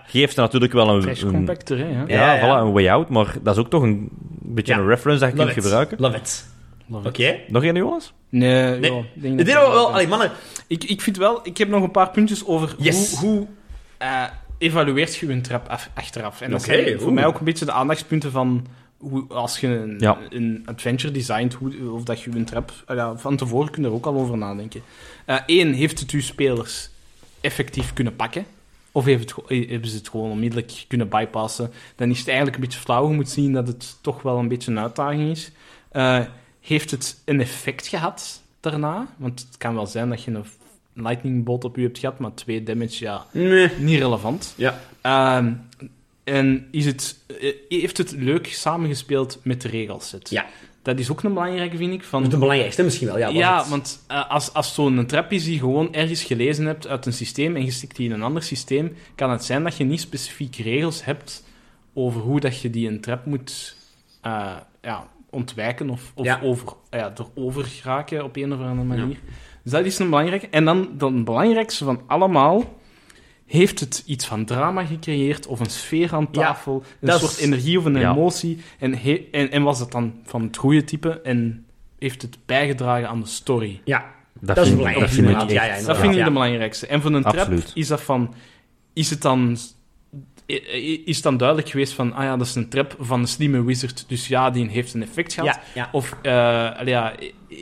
S1: Geeft ze natuurlijk wel
S3: Trash
S1: een, een,
S3: compactor, hè? Ja.
S1: ja,
S2: Ja, ja.
S1: voilà, een way out, maar dat is ook toch een beetje
S2: Ja.
S1: een reference dat je
S2: Love
S1: kunt
S2: it.
S1: gebruiken. Mm.
S2: Love it.
S3: Love
S2: Oké.
S3: it.
S1: Nog één, jongens?
S3: Nee,
S2: Nee.
S3: joh, ik denk
S2: Dit
S3: dat-
S2: hebben we wel... Allee, mannen.
S3: Ik, ik vind wel, ik heb nog een paar puntjes over
S2: Yes.
S3: hoe, hoe eh, evalueert je een trap af, achteraf. En dat
S2: Oké,
S3: zijn voor
S2: oeh.
S3: mij ook een beetje de aandachtspunten van hoe, als je een,
S1: Ja.
S3: een adventure designt, hoe, of dat je een trap... ah ja, van tevoren kun je er ook al over nadenken. Eén, heeft het uw spelers effectief kunnen pakken? Of heeft het, ge- eh, hebben ze het gewoon onmiddellijk kunnen bypassen? Dan is het eigenlijk een beetje flauw. Je moet zien dat het toch wel een beetje een uitdaging is. Eh, heeft het een effect gehad daarna? Want het kan wel zijn dat je een lightning bolt op u hebt gehad, maar 2 damage, ja,
S2: Nee.
S3: niet relevant.
S2: Ja.
S3: Ehm, en is het, eh, heeft het leuk samengespeeld met de regelset?
S2: Ja.
S3: Dat is ook een belangrijke, vind ik. Van,
S2: Dat is het belangrijkste misschien wel. Ja,
S3: ja,
S2: was het.
S3: want eh, als, als zo'n trap is die je gewoon ergens gelezen hebt uit een systeem en je stikt die in een ander systeem, kan het zijn dat je niet specifiek regels hebt over hoe dat je die een trap moet eh, ja, ontwijken of, of
S2: Ja.
S3: Over, ja, erover geraken op een of andere manier.
S2: Ja.
S3: Dus dat is een belangrijke. En dan, dan het belangrijkste van allemaal, heeft het iets van drama gecreëerd of een sfeer aan
S2: Ja,
S3: tafel, een
S2: dat
S3: soort
S2: is-
S3: energie of een
S1: Ja.
S3: emotie? En, he- en, en was dat dan van het goede type en heeft het bijgedragen aan de story?
S2: Ja,
S1: Dat,
S2: dat is
S1: vind, ik- dat
S2: belangrijk.
S1: vind ik
S2: inderdaad. Ja, ja,
S1: echt-
S3: Dat vind ik
S2: Ja.
S3: de belangrijkste. En van een trap
S1: Absoluut.
S3: is dat van... Is het dan... i- i- Is het dan duidelijk geweest van... Ah ja, dat is een trap van een slimme wizard. Dus ja, die heeft een effect gehad.
S2: ja, ja.
S3: Of eh, allee, ja,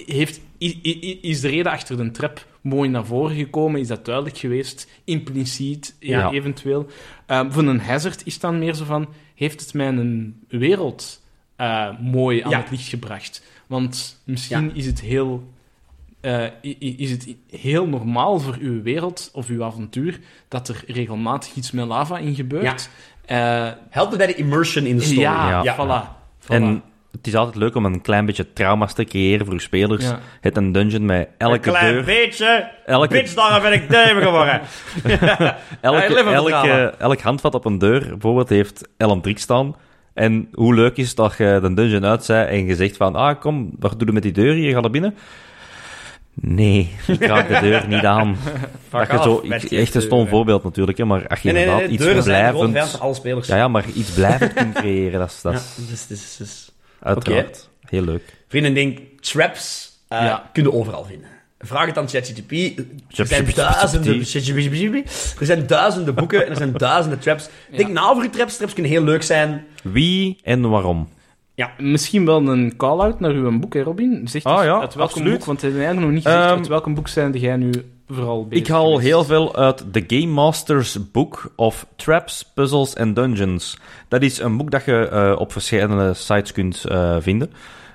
S3: heeft, i- i- is de reden achter de trap mooi naar voren gekomen? Is dat duidelijk geweest? Impliciet, eh,
S1: Ja.
S3: eventueel. Ehm, van een hazard is dan meer zo van... Heeft het mijn wereld eh, mooi aan
S2: Ja.
S3: het licht gebracht? Want misschien is het heel... eh, i- i- is het heel normaal voor uw wereld of uw avontuur dat er regelmatig iets met lava in gebeurt? Ja,
S2: Helpt het bij de immersion in de story?
S3: ja,
S1: Ja.
S3: voilà. voilà.
S1: En het is altijd leuk om een klein beetje trauma's te creëren voor uw spelers.
S3: Ja.
S1: Het een dungeon met elke
S2: Klein
S1: deur,
S2: beetje.
S1: Elke-
S2: Bitch, daarom ben ik duim geworden.
S1: elke,
S2: Hey, level
S1: elke,
S2: drama.
S1: elk handvat op een deur bijvoorbeeld heeft LM3 staan. En hoe leuk is het dat je de dungeon uitzij en je zegt van, ah kom, wat doe je met die deur hier? Je gaat er binnen. Nee, ik raak de deur niet aan. Dat je
S2: off,
S1: zo,
S2: werd je
S1: echt een stom
S2: deuren.
S1: voorbeeld natuurlijk, hè, maar als je
S2: Nee, nee, nee,
S1: inderdaad
S2: nee,
S1: iets
S2: deuren zijn gewoon vijand
S1: blijvend...
S2: van alle spelers.
S1: Ja, ja, maar iets blijvend kunt creëren, dat is, dat
S2: Ja,
S1: is
S2: dus- dus- dus-
S1: uiteraard heel leuk.
S2: Vrienden, denk, traps eh
S3: Ja.
S2: kun je overal vinden. Vraag het aan ChatGTP. Er
S1: Chap-
S2: zijn
S1: chap-
S2: duizenden...
S1: chap-
S2: Er zijn duizenden boeken en er zijn duizenden traps. Denk na over je traps. Traps kunnen heel leuk zijn.
S1: Wie en waarom?
S3: Misschien wel een call-out naar uw boek, hè, Robin? Zeg
S1: Ah,
S3: eens
S1: ja,
S3: uit welk
S1: absoluut.
S3: boek, want het is eigenlijk nog niet gezegd.
S1: Ehm,
S3: uit welk boek zijn jij nu vooral bezig
S1: Ik haal
S3: geweest?
S1: heel veel uit The Game Masters Book of Traps, Puzzles and Dungeons. Dat is een boek dat je eh, op verschillende sites kunt eh, vinden.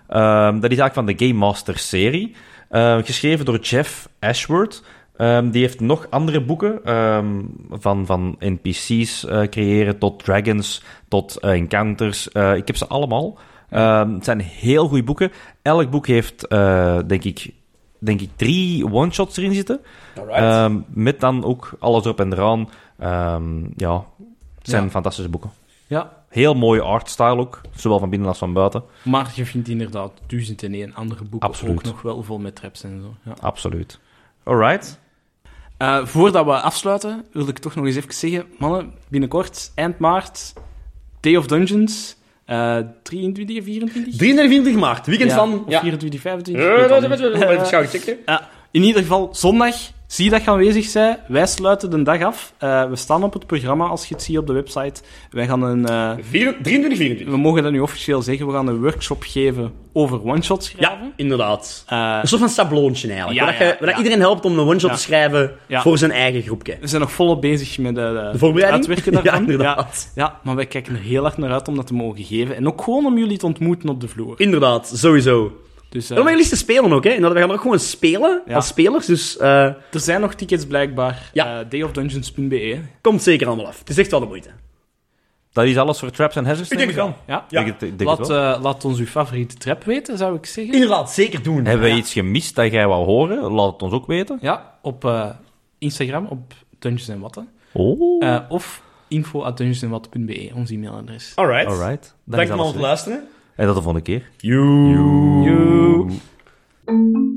S1: Ehm, dat is eigenlijk van de Game Masters serie. Ehm, geschreven door Jeff Ashworth. Ehm, die heeft nog andere boeken, ehm, van, van NPC's eh, creëren tot dragons, tot eh, encounters. Eh, ik heb ze allemaal. Ehm, het zijn heel goede boeken. Elk boek heeft, eh, denk, ik, denk ik, drie one-shots erin zitten.
S2: Alright.
S1: Ehm, met dan ook alles op en eraan. Ehm, ja, het zijn
S3: Ja.
S1: fantastische boeken.
S3: Ja,
S1: Heel mooie artstyle ook, zowel van binnen als van buiten.
S3: maar je vindt inderdaad duizend en één andere boeken
S1: Absoluut.
S3: ook nog wel vol met traps en zo. Ja.
S1: Absoluut. Alright.
S3: Eh, voordat we afsluiten, wil ik toch nog eens even zeggen... Mannen, binnenkort, eind maart, Day of Dungeons... eh 23, 24?
S2: 23 maart, weekend
S3: Ja,
S2: van...
S3: of
S2: Ja.
S3: 24, 25?
S2: Eh,
S3: weet
S2: dat
S3: al
S2: is
S3: niet.
S2: wel- even gauw checken.
S3: Ja, in ieder geval, zondag zie dat je aanwezig zijn. Wij sluiten de dag af. Eh, we staan op het programma, als je het ziet op de website. Wij gaan een... eh,
S2: 23, 24.
S3: we mogen dat nu officieel zeggen. We gaan een workshop geven over one-shots schrijven.
S2: Ja, inderdaad.
S3: Eh,
S2: Een soort van sabloontje eigenlijk.
S3: Ja,
S2: waar dat je-
S3: ja,
S2: waar dat
S3: ja.
S2: iedereen helpt om een one-shot
S3: Ja.
S2: te schrijven
S3: Ja.
S2: voor zijn eigen groepje.
S3: we zijn nog volop bezig met eh,
S2: De voorbereiding?
S3: het uitwerken daarvan.
S2: Ja, inderdaad.
S3: Ja, ja, maar wij kijken er heel hard naar uit om dat te mogen geven. En ook gewoon om jullie te ontmoeten op de vloer.
S2: Inderdaad, sowieso.
S3: Dus eh,
S2: En om jullie te spelen ook, hè. Inderdaad, we gaan er ook gewoon spelen
S3: Ja.
S2: als spelers. Dus eh,
S3: er zijn nog tickets blijkbaar.
S2: Ja.
S3: Eh, dayofdungeons.be.
S2: komt zeker allemaal af. Het is echt wel de moeite.
S1: Dat is alles voor Traps en Hazards. neem aan.
S3: Ja.
S2: Ja.
S1: Ik denk het- ik denk het
S3: Laat,
S1: wel.
S3: eh, laat ons uw favoriete trap weten, zou ik zeggen.
S2: Inderdaad, zeker doen.
S1: Hebben we
S2: eh, Ja.
S1: iets gemist dat jij wou horen? Laat het ons ook weten.
S3: Ja, op eh, Instagram, op Dungeons en Watten.
S1: Oh.
S3: Eh, of info at dungeonsenwatten.be, ons e-mailadres.
S2: Alright.
S1: Alright. Dat
S2: Dank
S1: is
S2: allemaal voor
S1: alles.
S2: het luisteren.
S1: En tot de volgende keer.
S2: Joe.
S3: Joe.